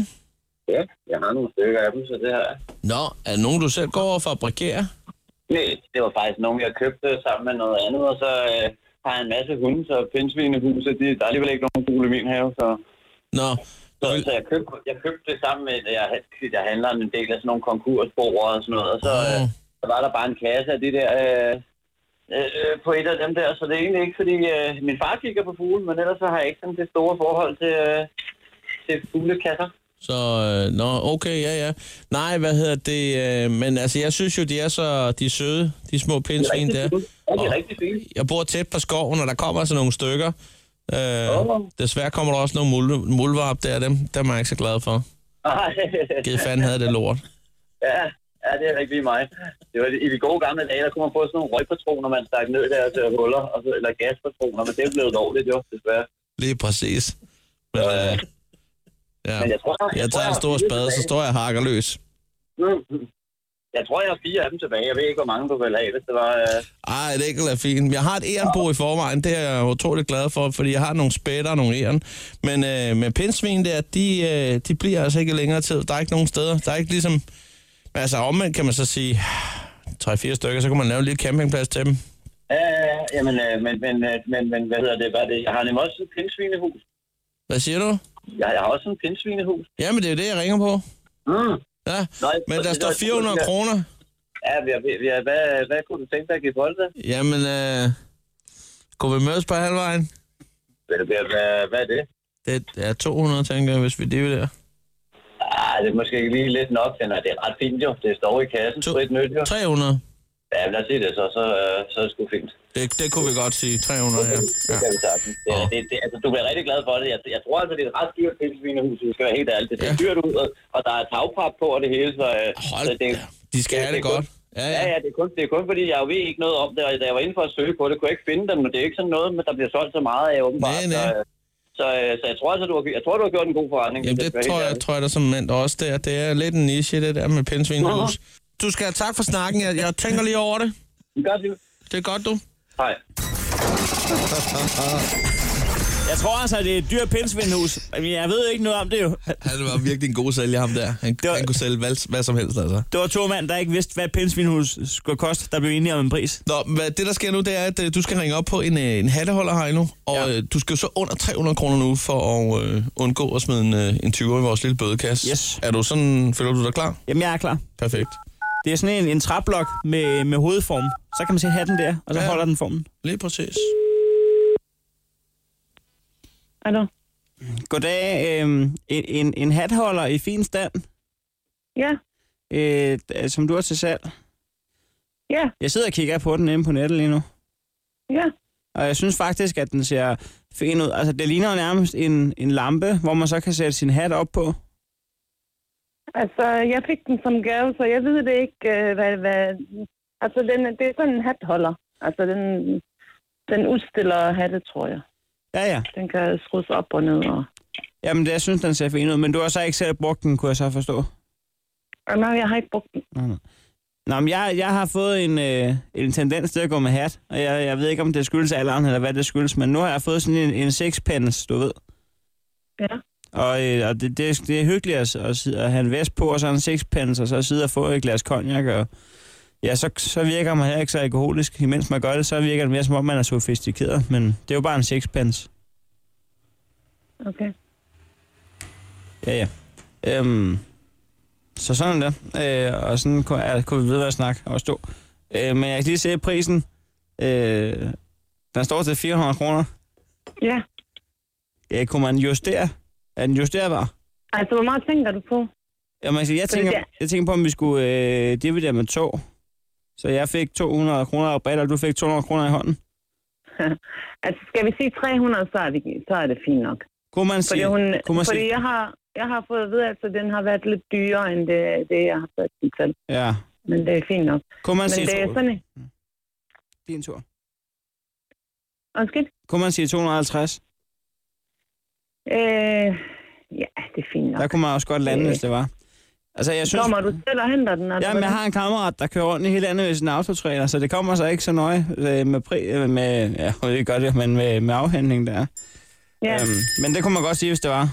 Speaker 8: Ja, jeg har nogle stykker af dem, så det har jeg.
Speaker 2: Nå, er det nogen, du selv går over og fabrikerer?
Speaker 8: Nej, det var faktisk nogen, jeg købte sammen med noget andet, og så øh, har jeg en masse hunde, så pindsvinehuset, de, der er alligevel ikke nogen fugle i min have, så...
Speaker 2: Nå,
Speaker 8: Så,
Speaker 2: du vil...
Speaker 8: så jeg, købte, jeg købte det sammen med, at jeg, jeg handler en del af sådan nogle konkursborer og sådan noget, og så,
Speaker 2: Åh.
Speaker 8: øh, så var der bare en kasse af de der... Øh, øh, øh, på et af dem der, så det er egentlig ikke, fordi øh, min far kigger på fugle, men ellers så har jeg ikke sådan det store forhold til, øh, til fuglekasser.
Speaker 2: Så, øh, nå, okay, ja, ja. Nej, hvad hedder det? Øh, men altså, jeg synes jo, de er så de er søde, de små pindsvin
Speaker 8: Rigtig
Speaker 2: der.
Speaker 8: fine. Ja, de er
Speaker 2: Og-
Speaker 8: rigtig fine.
Speaker 2: Jeg bor tæt på skoven, og der kommer altså nogle stykker. Øh,
Speaker 8: Åh.
Speaker 2: desværre kommer der også nogle mulve- mulver op der, dem, dem er jeg ikke så glad for.
Speaker 8: Ej.
Speaker 2: Givet fanden havde det lort.
Speaker 8: Ja, ja, det er ikke lige mig. Det var i de gode gamle dage, der kunne man få sådan nogle røgpatroner, man stak ned der til huller, og så, eller gaspatroner, men det er blevet lovligt jo, desværre.
Speaker 2: Lige præcis. Men, øh, ja.
Speaker 8: Men jeg tror, jeg,
Speaker 2: Jeg
Speaker 8: tror,
Speaker 2: tager en
Speaker 8: har
Speaker 2: stor
Speaker 8: fire
Speaker 2: spade, så
Speaker 8: tilbage.
Speaker 2: står jeg og hakker løs.
Speaker 8: Mm. Jeg tror, jeg har fire af dem tilbage. Jeg ved ikke, hvor mange du vil have, hvis det var... Øh...
Speaker 2: Ej, et enkelt er fint. Jeg har et ærenbo i forvejen, det er jeg utroligt glad for, fordi jeg har nogle spætter og nogle æren. Men øh, med pindsvin der, de, øh, de bliver altså ikke længere tid. Der er ikke nogen steder. Der er ikke ligesom... Men altså omvendt kan man så sige, 3-4 stykker, så kunne man lave en lille campingplads til dem.
Speaker 8: Ja, ja, ja, jamen, øh, men, men, øh, men, men, hvad hedder det? Hvad er det? Jeg har nemlig også et pindsvinehus.
Speaker 2: Hvad siger du?
Speaker 8: Jeg, jeg har også et pindsvinehus.
Speaker 2: Jamen, det er jo det, jeg ringer på.
Speaker 8: Mm.
Speaker 2: Ja,
Speaker 8: Nej,
Speaker 2: men
Speaker 8: det-
Speaker 2: der
Speaker 8: det-
Speaker 2: står
Speaker 8: det-
Speaker 2: 400
Speaker 8: det-
Speaker 2: kroner.
Speaker 8: Ja, vi, vi, vi, hvad, hvad kunne du tænke dig at give folk det?
Speaker 2: Jamen, øh, kunne vi mødes på halvvejen?
Speaker 8: Hvad, hvad, hvad, hvad er det?
Speaker 2: Det er 200, tænker jeg, hvis vi dividerer.
Speaker 8: Ah, det er måske ikke lige lidt nok, men det er ret fint jo. Det står i kassen,
Speaker 2: To-
Speaker 8: to, frit nyt jo.
Speaker 2: 300.
Speaker 8: Ja, lad os sige det så, så, øh, så er det sgu fint.
Speaker 2: Det, det kunne vi godt sige. 300, ja.
Speaker 8: Det
Speaker 2: ja.
Speaker 8: kan vi sagtens. Det,
Speaker 2: Åh.
Speaker 8: det, det, altså, du bliver rigtig glad for det. Jeg, jeg tror altså, det er et ret dyrt pindsvinehus, hvis vi skal være helt ærlig. Det ser
Speaker 2: Ja.
Speaker 8: dyrt ud, og, og der er tagpap på og det hele, så, øh, så
Speaker 2: Hold
Speaker 8: det,
Speaker 2: da. De skal
Speaker 8: det-
Speaker 2: have det
Speaker 8: det er
Speaker 2: godt. Ja,
Speaker 8: Ja,
Speaker 2: ja.
Speaker 8: ja, det er, kun, det er kun fordi, jeg ved ikke noget om det, og da jeg var inde for at søge på det, kunne jeg ikke finde dem, men det er ikke sådan noget, men der bliver solgt så meget af, åbenbart.
Speaker 2: Nej, nej.
Speaker 8: Så, øh, så, øh, så jeg tror altså, du har, jeg tror, du har gjort en god forretning.
Speaker 2: Jamen, det
Speaker 8: hvis skal være
Speaker 2: tror
Speaker 8: helt
Speaker 2: jeg,
Speaker 8: ærlig.
Speaker 2: tror jeg da som mand også der. Det er lidt en niche, det der med pindsvinhus. Du skal have tak for snakken. Jeg, jeg tænker lige over det.
Speaker 8: Godt, Liv.
Speaker 2: Det er godt, du.
Speaker 8: Hej.
Speaker 3: Jeg tror altså, at det er et dyrt pindsvinehus. Men jeg ved ikke noget om det jo.
Speaker 2: Han var virkelig en god sælger, ham der. Han,
Speaker 3: var- han
Speaker 2: kunne sælge hvad, hvad som helst, altså.
Speaker 3: Det var to mænd, der ikke vidste, hvad et pindsvinehus skulle koste, der blev enige om en pris.
Speaker 2: Nå, men hvad, det der sker nu, det er, at øh, du skal ringe op på en, øh, en hatteholder her endnu, og
Speaker 3: Ja.
Speaker 2: øh, du skal jo så under 300 kroner nu for at øh, undgå at smide en, øh, en 20'er i vores lille bødekasse.
Speaker 3: Yes.
Speaker 2: Er du sådan, føler du dig klar?
Speaker 3: Jamen, jeg er klar.
Speaker 2: Perfekt.
Speaker 3: Det er sådan en, en træblok med, med hovedform. Så kan man sætte hatten der, og så
Speaker 2: Ja.
Speaker 3: ja. holder den formen.
Speaker 2: Lige præcis.
Speaker 9: Hallo?
Speaker 3: Goddag. Øh, en, en, en hatholder i fin stand,
Speaker 9: Ja,
Speaker 3: øh, d- som du har til salg.
Speaker 9: ja,
Speaker 3: Jeg sidder og kigger på den inde på nettet lige nu.
Speaker 9: ja.
Speaker 3: Og jeg synes faktisk, at den ser fin ud. Altså, det ligner jo nærmest en, en lampe, hvor man så kan sætte sin hat op på.
Speaker 9: Altså, jeg fik den som gave, så jeg ved det ikke, øh, hvad... hvad altså, den, er- det er sådan en hatholder. Altså, den, den udstiller hatte, tror jeg.
Speaker 3: Ja, ja.
Speaker 9: Den kan skrues op og ned. Og...
Speaker 3: Jamen, det, jeg synes, den ser fin ud. Men du har så ikke selv brugt den, kunne jeg så forstå.
Speaker 9: Og nej, jeg har ikke brugt den.
Speaker 3: Nå, nå. Nå, men jeg, jeg har fået en, øh, en tendens til at gå med hat, og jeg, jeg ved ikke, om det skyldes alderen, eller hvad det skyldes, men nu har jeg fået sådan en, en sixpence, du ved.
Speaker 9: Ja.
Speaker 3: Og, øh, og det, det, det er hyggeligt at, at, sidde- at have en vest på, og så en sixpence, og så sidde og få et glas cognac, og ja, så, så virker man heller ikke så alkoholisk. Imens man gør det, så virker det mere, som om man er sofistikeret, men det er jo bare en sixpence.
Speaker 9: Okay.
Speaker 3: Ja, ja. Øhm, så sådan der. Øh, og sådan kunne, ja, kunne vi videre at snakke og stå. Øh, men jeg kan lige se prisen. Øh, den står til 400 kroner.
Speaker 9: Ja.
Speaker 3: Ja, kunne man justere? Er den justerbar?
Speaker 9: Altså, hvor meget tænker du på?
Speaker 3: Jamen, altså, jeg, tænker,
Speaker 9: Ja.
Speaker 3: jeg tænker på, om vi skulle øh, dividere med to. Så jeg fik 200 kroner rabat, og du fik 200 kroner i hånden.
Speaker 9: altså, skal vi sige 300, så er, vi, så er det fint nok.
Speaker 3: Kunne man
Speaker 9: Fordi,
Speaker 3: sige-
Speaker 9: hun,
Speaker 3: kunne man
Speaker 9: fordi
Speaker 3: sige-
Speaker 9: jeg, har, jeg har fået at vide, at den har været lidt dyrere, end det, det jeg har fået den til.
Speaker 3: Ja.
Speaker 9: Men det er fint nok.
Speaker 3: Kunne man
Speaker 9: Men
Speaker 3: sige
Speaker 9: det er
Speaker 3: to-
Speaker 9: sådan... en-
Speaker 3: Din tur.
Speaker 9: Undskyld?
Speaker 3: Kunne man sige 250?
Speaker 9: Øh, ja, det er fint nok.
Speaker 3: Der kunne man også godt lande,
Speaker 9: Øh.
Speaker 3: hvis det var. Altså, jeg synes...
Speaker 9: Kommer du selv og henter den? Altså,
Speaker 3: Jamen, jeg har en kammerat, der kører rundt i hele landet med sin autotrailer, så det kommer så ikke så nøje øh, med, pri- øh, med, ja, jeg ved ikke godt, men med, med afhandling der.
Speaker 9: Ja,
Speaker 3: Øhm, men det kunne man godt sige, hvis det var.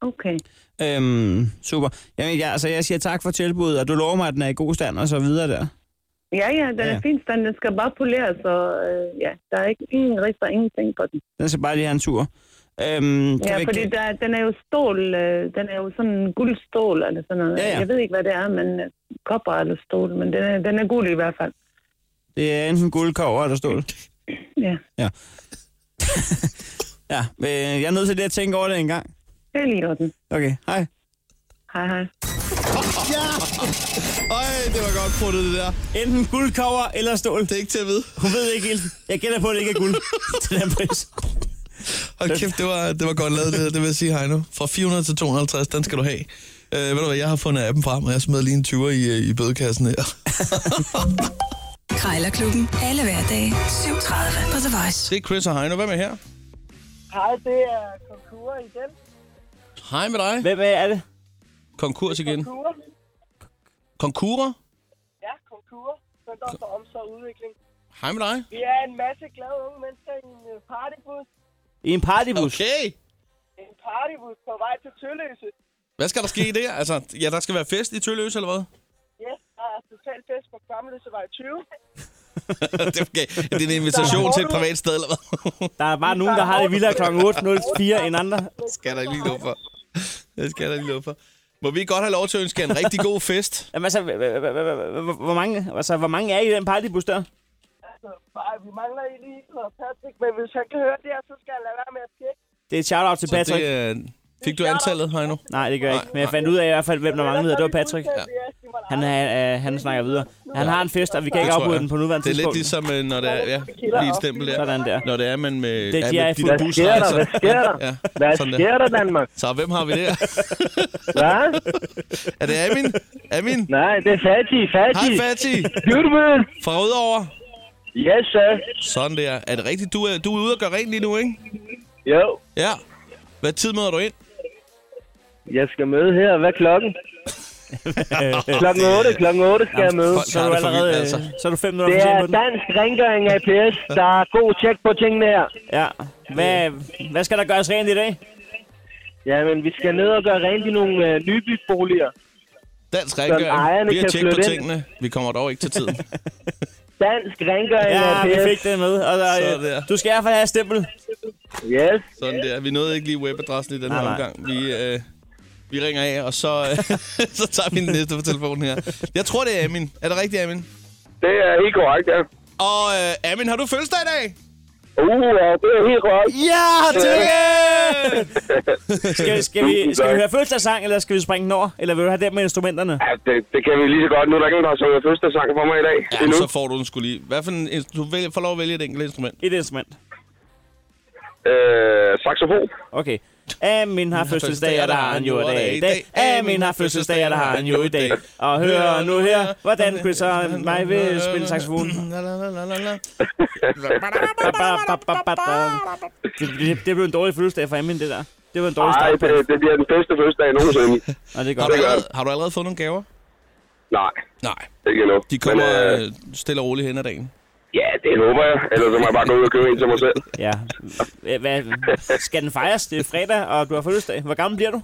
Speaker 9: okay.
Speaker 3: Øhm, super. Jamen, jeg, altså, jeg siger tak for tilbuddet, og du lover mig, at den er i god stand og så videre der.
Speaker 9: Ja, ja, den
Speaker 3: Ja.
Speaker 9: er fint stand. Den skal bare poleres, og øh, ja, der er ikke ingen rister, ingenting på den.
Speaker 3: Den skal bare lige have en tur. Øhm, kan
Speaker 9: Ja,
Speaker 3: vi-
Speaker 9: fordi der, den er jo stål, øh, den er jo sådan en guldstål eller sådan noget.
Speaker 3: Ja, ja.
Speaker 9: Jeg ved ikke, hvad det er, men øh, kopper eller stål, men den er, den er guld i hvert fald.
Speaker 3: Det er enten guldkover eller stål.
Speaker 9: Ja,
Speaker 3: Ja. ja, øh, jeg er nødt til det at tænke over det en gang.
Speaker 9: det er lige i orden.
Speaker 3: Okay, hej.
Speaker 9: Hej, hej.
Speaker 2: Ja! Øj, det var godt puttet, det der.
Speaker 3: Enten guldkover eller stål. Det
Speaker 2: er ikke til at vide.
Speaker 3: Hun ved ikke helt. Jeg gætter på, at det ikke er guld til den pris.
Speaker 10: Hold kæft, det var, det var godt lavet, det, det vil jeg sige, Heino. Fra 400 til 250, den skal du have. Øh, ved du hvad, jeg har fundet appen frem, og jeg smed lige en 20'er i, øh, i bødekassen her.
Speaker 1: Krejlerklubben. Alle hverdage 7.30 på The Voice.
Speaker 2: Det er Chris og Heino. Hvem er her?
Speaker 11: Hej, det er Konkura igen.
Speaker 2: Hej med dig.
Speaker 3: Hvem er det?
Speaker 2: Konkurs igen.
Speaker 11: Konkura?
Speaker 2: Konkurer.
Speaker 11: Ja, Konkura. Center for Omsorg og Udvikling.
Speaker 2: Hej med dig.
Speaker 11: Vi er en masse glade unge mennesker i en øh, partybus.
Speaker 3: I en partybus.
Speaker 2: Okay.
Speaker 11: En partybus på vej til Tølløse.
Speaker 2: Hvad skal der ske der? Altså, ja, der skal være fest i Tølløse, eller hvad?
Speaker 11: Yes, der er totalt fest på Gamløsevej 20.
Speaker 2: det, er okay. det er en invitation til et privat sted, eller hvad?
Speaker 3: Der er bare nogen, der har det vildere kl. 8.04 end andre.
Speaker 2: skal der ikke lige lov for. Det skal der ikke lov for. Må vi godt have lov til at ønske jer en rigtig god fest?
Speaker 3: Jamen altså, h- h- h- h- h- hvor mange, altså, hvor mange er I i den partybus der?
Speaker 11: Altså, bare, vi mangler I lige og Patrick, men hvis han kan høre det her, så skal han lade være med at skække.
Speaker 3: Det er et shout-out til
Speaker 2: Så
Speaker 3: Patrick.
Speaker 2: det, øh, fik du antallet, Heino?
Speaker 3: Nej, det gør jeg ikke. Men jeg fandt ud af i hvert fald, hvem der manglede. Det var Patrick. Han, er, øh, han snakker videre. Han har en fest, og vi kan ikke
Speaker 2: Det tror
Speaker 3: afbryde
Speaker 2: jeg.
Speaker 3: den på nuværende
Speaker 2: Det er lidt
Speaker 3: tidspunkt.
Speaker 2: ligesom, øh, når der er ja, lige et stempel der.
Speaker 3: Sådan der.
Speaker 2: Når det er, man med,
Speaker 3: Det
Speaker 2: er
Speaker 3: giver
Speaker 2: med
Speaker 3: jeg fuld- Hvad sker der?
Speaker 12: altså.
Speaker 2: busrejser.
Speaker 3: Hvad sker der?
Speaker 2: altså. Ja,
Speaker 3: Hvad
Speaker 2: sådan
Speaker 3: sker
Speaker 2: der
Speaker 11: Danmark?
Speaker 2: Så hvem har vi der?
Speaker 11: Hvad?
Speaker 2: er det Amin? Amin?
Speaker 11: Nej, det er Fati. Fati.
Speaker 2: Hej, Fati.
Speaker 11: Beautiful.
Speaker 2: Fra Rødovre.
Speaker 11: Yes, sir.
Speaker 2: Sådan der. Er det rigtigt? Du er, du er ude og gøre rent lige nu, ikke?
Speaker 11: Jo.
Speaker 2: Ja. Hvad tid møder du ind?
Speaker 11: Jeg skal møde her. Hvad er klokken? klokken 8. Klokken 8 skal jeg møde.
Speaker 3: Så er du allerede,
Speaker 2: altså.
Speaker 3: øh, så er du fem minutter
Speaker 11: Det
Speaker 3: for sent
Speaker 11: er
Speaker 3: på den.
Speaker 11: dansk rengøring APS. Der er god tjek på tingene her.
Speaker 3: Ja. Hvad, hvad skal der gøres rent i dag?
Speaker 11: Jamen, vi skal ned og gøre rent i nogle øh, nybygboliger.
Speaker 2: Dansk
Speaker 11: Som
Speaker 2: rengøring.
Speaker 11: ejerne
Speaker 2: Vi har
Speaker 11: kan
Speaker 2: tjekket på
Speaker 11: flytte ind.
Speaker 2: tingene. Vi kommer dog ikke til tiden.
Speaker 11: Dansk rengøring
Speaker 3: Ja, vi
Speaker 11: APS.
Speaker 3: fik det med. Og der,
Speaker 2: Så der.
Speaker 3: øh, du skal i hvert fald have et stempel.
Speaker 11: Yes.
Speaker 2: Sådan der. Vi nåede ikke lige webadressen i den
Speaker 3: Nej,
Speaker 2: her
Speaker 3: nej.
Speaker 2: omgang. Vi, øh, vi ringer af, og så, øh, så tager vi den næste på telefonen her. Jeg tror, det er Amin. Er det rigtigt, Amin?
Speaker 5: Det er helt korrekt, ja.
Speaker 2: Og øh, Amin, har du fødselsdag i dag?
Speaker 5: Uh, ja, det er helt korrekt.
Speaker 3: Ja, tillykke! Skal, skal, vi, skal vi høre fødselsdagssang, eller skal vi springe den over? Eller vil du have den med instrumenterne?
Speaker 13: Det, det kan vi lige så godt. Nu er der ikke nogen, der har sunget fødselsdagssang for mig i dag.
Speaker 2: Ja,
Speaker 13: Endnu.
Speaker 2: så får du den skulle lige. Hvad for en, inst- du vælger, får lov at vælge et enkelt instrument?
Speaker 3: Et instrument.
Speaker 13: Øh, saxofon.
Speaker 3: Okay. Amin har fødselsdag, og der har han jo i dag i dag. Amin har fødselsdag, og der har han jo i dag. Og hør nu her, hvordan Chris og mig vil spille saxofon. Det, det, det blev en dårlig fødselsdag for Amin, det der. Det var en dårlig
Speaker 13: Nej,
Speaker 3: start.
Speaker 13: det, det bliver den bedste fødselsdag nogensinde.
Speaker 3: Nej, det er
Speaker 2: Har
Speaker 3: godt.
Speaker 2: du, allerede, har du allerede fået nogle gaver?
Speaker 13: Nej,
Speaker 2: Nej.
Speaker 13: ikke endnu.
Speaker 2: De kommer
Speaker 13: Men, øh,
Speaker 2: øh, stille og roligt hen ad dagen.
Speaker 13: ja, det håber jeg. Ellers så må jeg bare gå ud og købe en til mig selv.
Speaker 3: Ja. Hva- Hvad, skal den fejres? Det er fredag, og du har fødselsdag. Hvor gammel bliver du?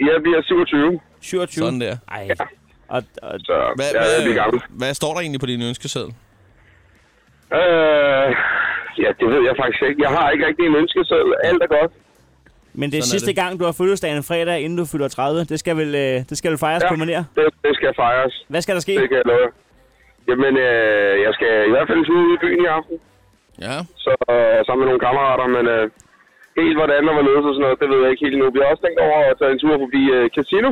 Speaker 13: Jeg bliver 27.
Speaker 3: 27?
Speaker 2: Sådan der.
Speaker 3: Ej. Og, og,
Speaker 13: Så
Speaker 2: Hvad,
Speaker 13: jeg er lige gammel.
Speaker 2: hvad, hvad står der egentlig på din ønskeseddel?
Speaker 13: Øh, ja, det ved jeg faktisk ikke. Jeg har ikke rigtig en ønskeseddel. Alt er godt.
Speaker 3: men det er
Speaker 13: Sådan er
Speaker 3: sidste
Speaker 13: det.
Speaker 3: gang, du har fødselsdag en fredag, inden du fylder 30. Det skal vel, øh, det skal vel fejres på manér?
Speaker 13: Det, det skal fejres.
Speaker 3: Hvad skal der ske?
Speaker 13: Det kan jeg love. jer. Jamen, øh, jeg skal i hvert fald en tur ud i byen i aften.
Speaker 2: Ja.
Speaker 13: Så øh, sammen med nogle kammerater, men øh, helt hvordan og hvorledes og sådan noget, det ved jeg ikke helt nu. Vi har også tænkt over at tage en tur forbi øh, Casino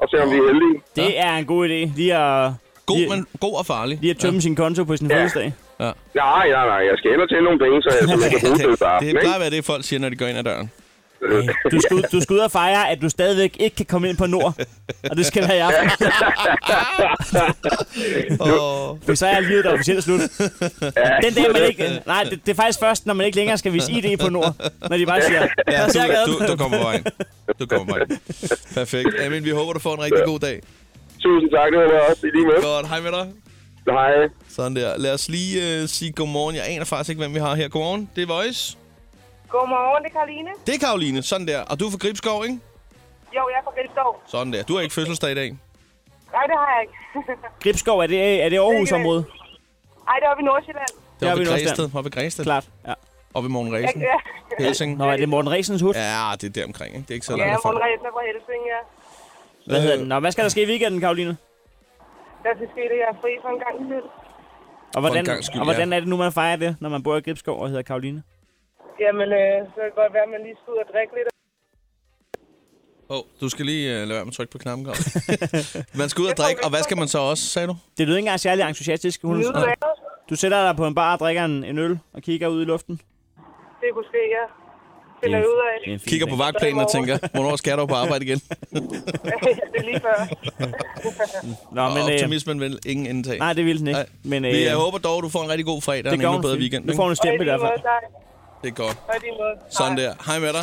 Speaker 13: og se, om vi er heldige.
Speaker 3: Det er en god idé. Lige at... God, lige, men
Speaker 2: god og farlig.
Speaker 3: Lige at tømme ja. sin konto på sin ja. fødselsdag.
Speaker 2: Ja.
Speaker 13: Nej, nej, nej. Jeg skal ind og tjene nogle penge, så jeg, så jeg kan bruge det bare.
Speaker 2: Det plejer at være det, folk siger, når de går ind ad døren.
Speaker 3: Øh, Du skal, ud, du skal ud og fejre, at du stadigvæk ikke kan komme ind på Nord. Og det skal være i aften. For så er livet der officielt slut. Den dag, man ikke... Nej, det, det er faktisk først, når man ikke længere skal vise ID på Nord. Når de bare siger...
Speaker 2: Ja,
Speaker 3: "Der ser gaden."
Speaker 2: du, du, du kommer på vejen. Du kommer på vejen. Perfekt. Amin, vi håber, du får en rigtig god dag.
Speaker 13: Tusind tak, det var det også. I lige med.
Speaker 2: Godt, hej med dig.
Speaker 13: Hej.
Speaker 2: Sådan der. Lad os lige uh, sige godmorgen. Jeg aner faktisk ikke, hvem vi har her. Godmorgen, det er Voice.
Speaker 14: Godmorgen, det er Karoline.
Speaker 2: Det er Karoline, sådan der. Og du er fra Gribskov, ikke?
Speaker 14: Jo, jeg er fra Gribskov.
Speaker 2: Sådan der. Du har ikke fødselsdag i dag.
Speaker 14: Nej, det har jeg ikke.
Speaker 3: Gribskov, er det, er det Aarhus-området?
Speaker 14: Ej, det er oppe i Nordsjælland.
Speaker 2: Det
Speaker 3: er
Speaker 2: var
Speaker 3: oppe
Speaker 2: ved
Speaker 3: i Nordsjælland.
Speaker 2: Græsted. Var ved Græsted.
Speaker 3: Klart, ja.
Speaker 2: Og ved Morten Ræsen.
Speaker 14: Ja.
Speaker 2: Helsing.
Speaker 3: Nå, er det Morten Ræsens hus?
Speaker 2: Ja, det er der omkring, ikke? Det er ikke så
Speaker 14: Ja,
Speaker 2: langt derfra.
Speaker 14: Morten Ræsen er fra Helsing, ja.
Speaker 3: Hvad hedder den? Nå, hvad skal der ske i weekenden, Karoline?
Speaker 14: Der skal ske det, jeg er fri for en gang til.
Speaker 2: en
Speaker 3: Og hvordan,
Speaker 2: gangs skyld,
Speaker 3: og hvordan er det nu, man fejrer det, når man bor i Gribskov og hedder Karoline?
Speaker 14: Jamen, øh, så kan det godt være, at man lige skal ud og drikke lidt.
Speaker 2: Åh, oh, du skal lige uh, lade være med at trykke på knappen, Karoline. Man skal ud og drikke, og hvad skal man så også, sagde du?
Speaker 3: Det lyder ikke engang særlig entusiastisk. Hun,
Speaker 14: Lyder det?
Speaker 3: du sætter dig på en bar og drikker en, en øl og kigger ud i luften.
Speaker 14: Det kunne ske, ja. Finder jeg ud af.
Speaker 2: Kigger på vagtplanen og tænker, hvornår skal jeg dog på arbejde igen?
Speaker 14: det er lige før.
Speaker 3: Nå,
Speaker 2: og
Speaker 3: men, øh,
Speaker 2: optimismen vil ingen indtag.
Speaker 3: Nej, det vil den ikke.
Speaker 2: Nej.
Speaker 3: Men,
Speaker 2: Vi, jeg
Speaker 3: øh,
Speaker 2: håber dog, du får en rigtig god fredag og en
Speaker 3: det gør
Speaker 2: endnu
Speaker 3: hun
Speaker 2: bedre
Speaker 3: fint.
Speaker 2: weekend.
Speaker 3: Nu
Speaker 2: ikke?
Speaker 3: får hun et stempel
Speaker 14: Og i lige måde, tak.
Speaker 2: Det er godt.
Speaker 14: Og i lige måde.
Speaker 2: Sådan der. Hej med dig.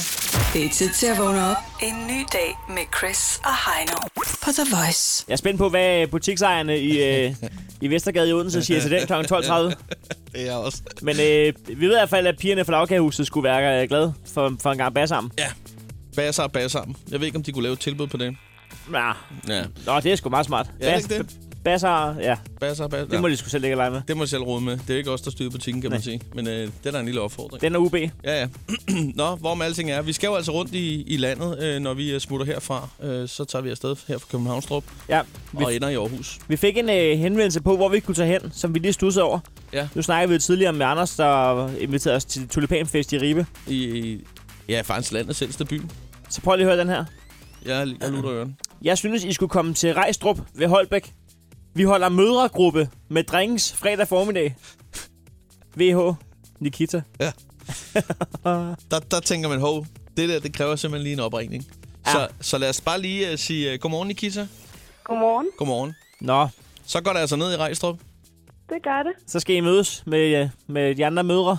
Speaker 1: Det er tid til at vågne op. En ny dag med Chris og Heino på The Voice.
Speaker 3: Jeg er spændt på, hvad butiksejerne i, øh, i Vestergade i Odense siger til den kl. 12.30.
Speaker 2: Det er jeg også.
Speaker 3: Men øh, vi ved i hvert fald, at pigerne fra Lavkagehuset skulle være øh, glade for, for en gang bag sammen.
Speaker 2: Ja. Basser og basser. Jeg ved ikke, om de kunne lave et tilbud på det.
Speaker 3: ja.
Speaker 2: Ja.
Speaker 3: Nå, det er sgu meget smart.
Speaker 2: Ja, er det ikke
Speaker 3: Basser, ja.
Speaker 2: Basser og basser.
Speaker 3: Det må de sgu selv ikke lege med.
Speaker 2: Det må de selv rode med. Det er jo ikke os, der styrer butikken, kan man sige. Men øh, det er da en lille opfordring.
Speaker 3: Den er UB.
Speaker 2: Ja, ja. Nå, hvorom alting er. Vi skal jo altså rundt i, i landet, øh, når vi øh, smutter herfra. Øh, så tager vi afsted her fra Københavnstrup
Speaker 3: Ja, vi-
Speaker 2: og ender i Aarhus.
Speaker 3: Vi fik en øh, henvendelse på, hvor vi kunne tage hen, som vi lige studsede over.
Speaker 2: Ja.
Speaker 3: Nu snakkede vi jo tidligere med Anders, der inviterede os til Tulipanfest i Ribe.
Speaker 2: I, ja, faktisk landets ældste by.
Speaker 3: Så prøv lige at høre den her.
Speaker 2: Jeg, jeg lutter øren.
Speaker 3: Jeg synes, I skulle komme til Rejstrup ved Holbæk. Vi holder mødregruppe med drinks fredag formiddag. VH Nikita.
Speaker 2: Ja. Der, der tænker man, hov, det der, det kræver simpelthen lige en opringning. Ja. Så, så lad os bare lige uh, sige uh, godmorgen, Nikita.
Speaker 12: Godmorgen.
Speaker 2: Godmorgen.
Speaker 3: Nå.
Speaker 2: Så går det altså ned i Rejstrup.
Speaker 12: Det gør det.
Speaker 3: Så skal I mødes med, øh, med de andre mødre.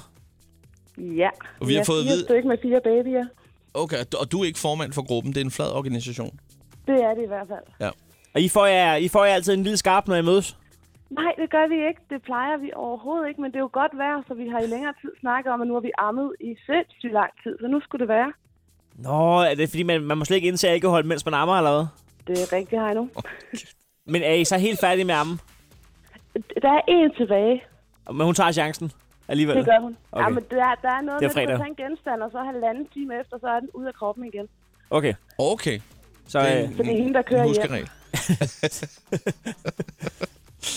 Speaker 12: Ja.
Speaker 2: Og vi har
Speaker 12: er
Speaker 2: fået at
Speaker 12: fire
Speaker 2: vide-
Speaker 12: stykker med fire babyer.
Speaker 2: Okay, og du er ikke formand for gruppen. Det er en flad organisation.
Speaker 12: Det er det i hvert fald.
Speaker 2: Ja.
Speaker 3: Og I får, jer, I får jer altid en lille skarp, når I mødes.
Speaker 12: Nej, det gør vi ikke. Det plejer vi overhovedet ikke, men det er jo godt vejr, så vi har i længere tid snakket om, at nu har vi ammet i sindssygt lang tid, så nu skulle det være.
Speaker 3: Nå, er det fordi, man, man må slet ikke indtage alkohol, mens man ammer eller hvad?
Speaker 12: Det er rigtigt, Heino.
Speaker 3: Men er I så helt færdige med ammen?
Speaker 12: Der er en tilbage.
Speaker 3: Men hun tager chancen alligevel.
Speaker 12: Det gør hun. Okay. Ja,
Speaker 3: Okay.
Speaker 12: men der, der er noget
Speaker 3: Det er
Speaker 12: med,
Speaker 3: fredag.
Speaker 12: at du kan tage en genstand, og så halvanden time efter, så er den ude af kroppen igen.
Speaker 3: okay.
Speaker 2: Okay.
Speaker 3: Så,
Speaker 2: Det er
Speaker 3: øh,
Speaker 12: Så det er hende, der kører hjem.
Speaker 2: huskeregel.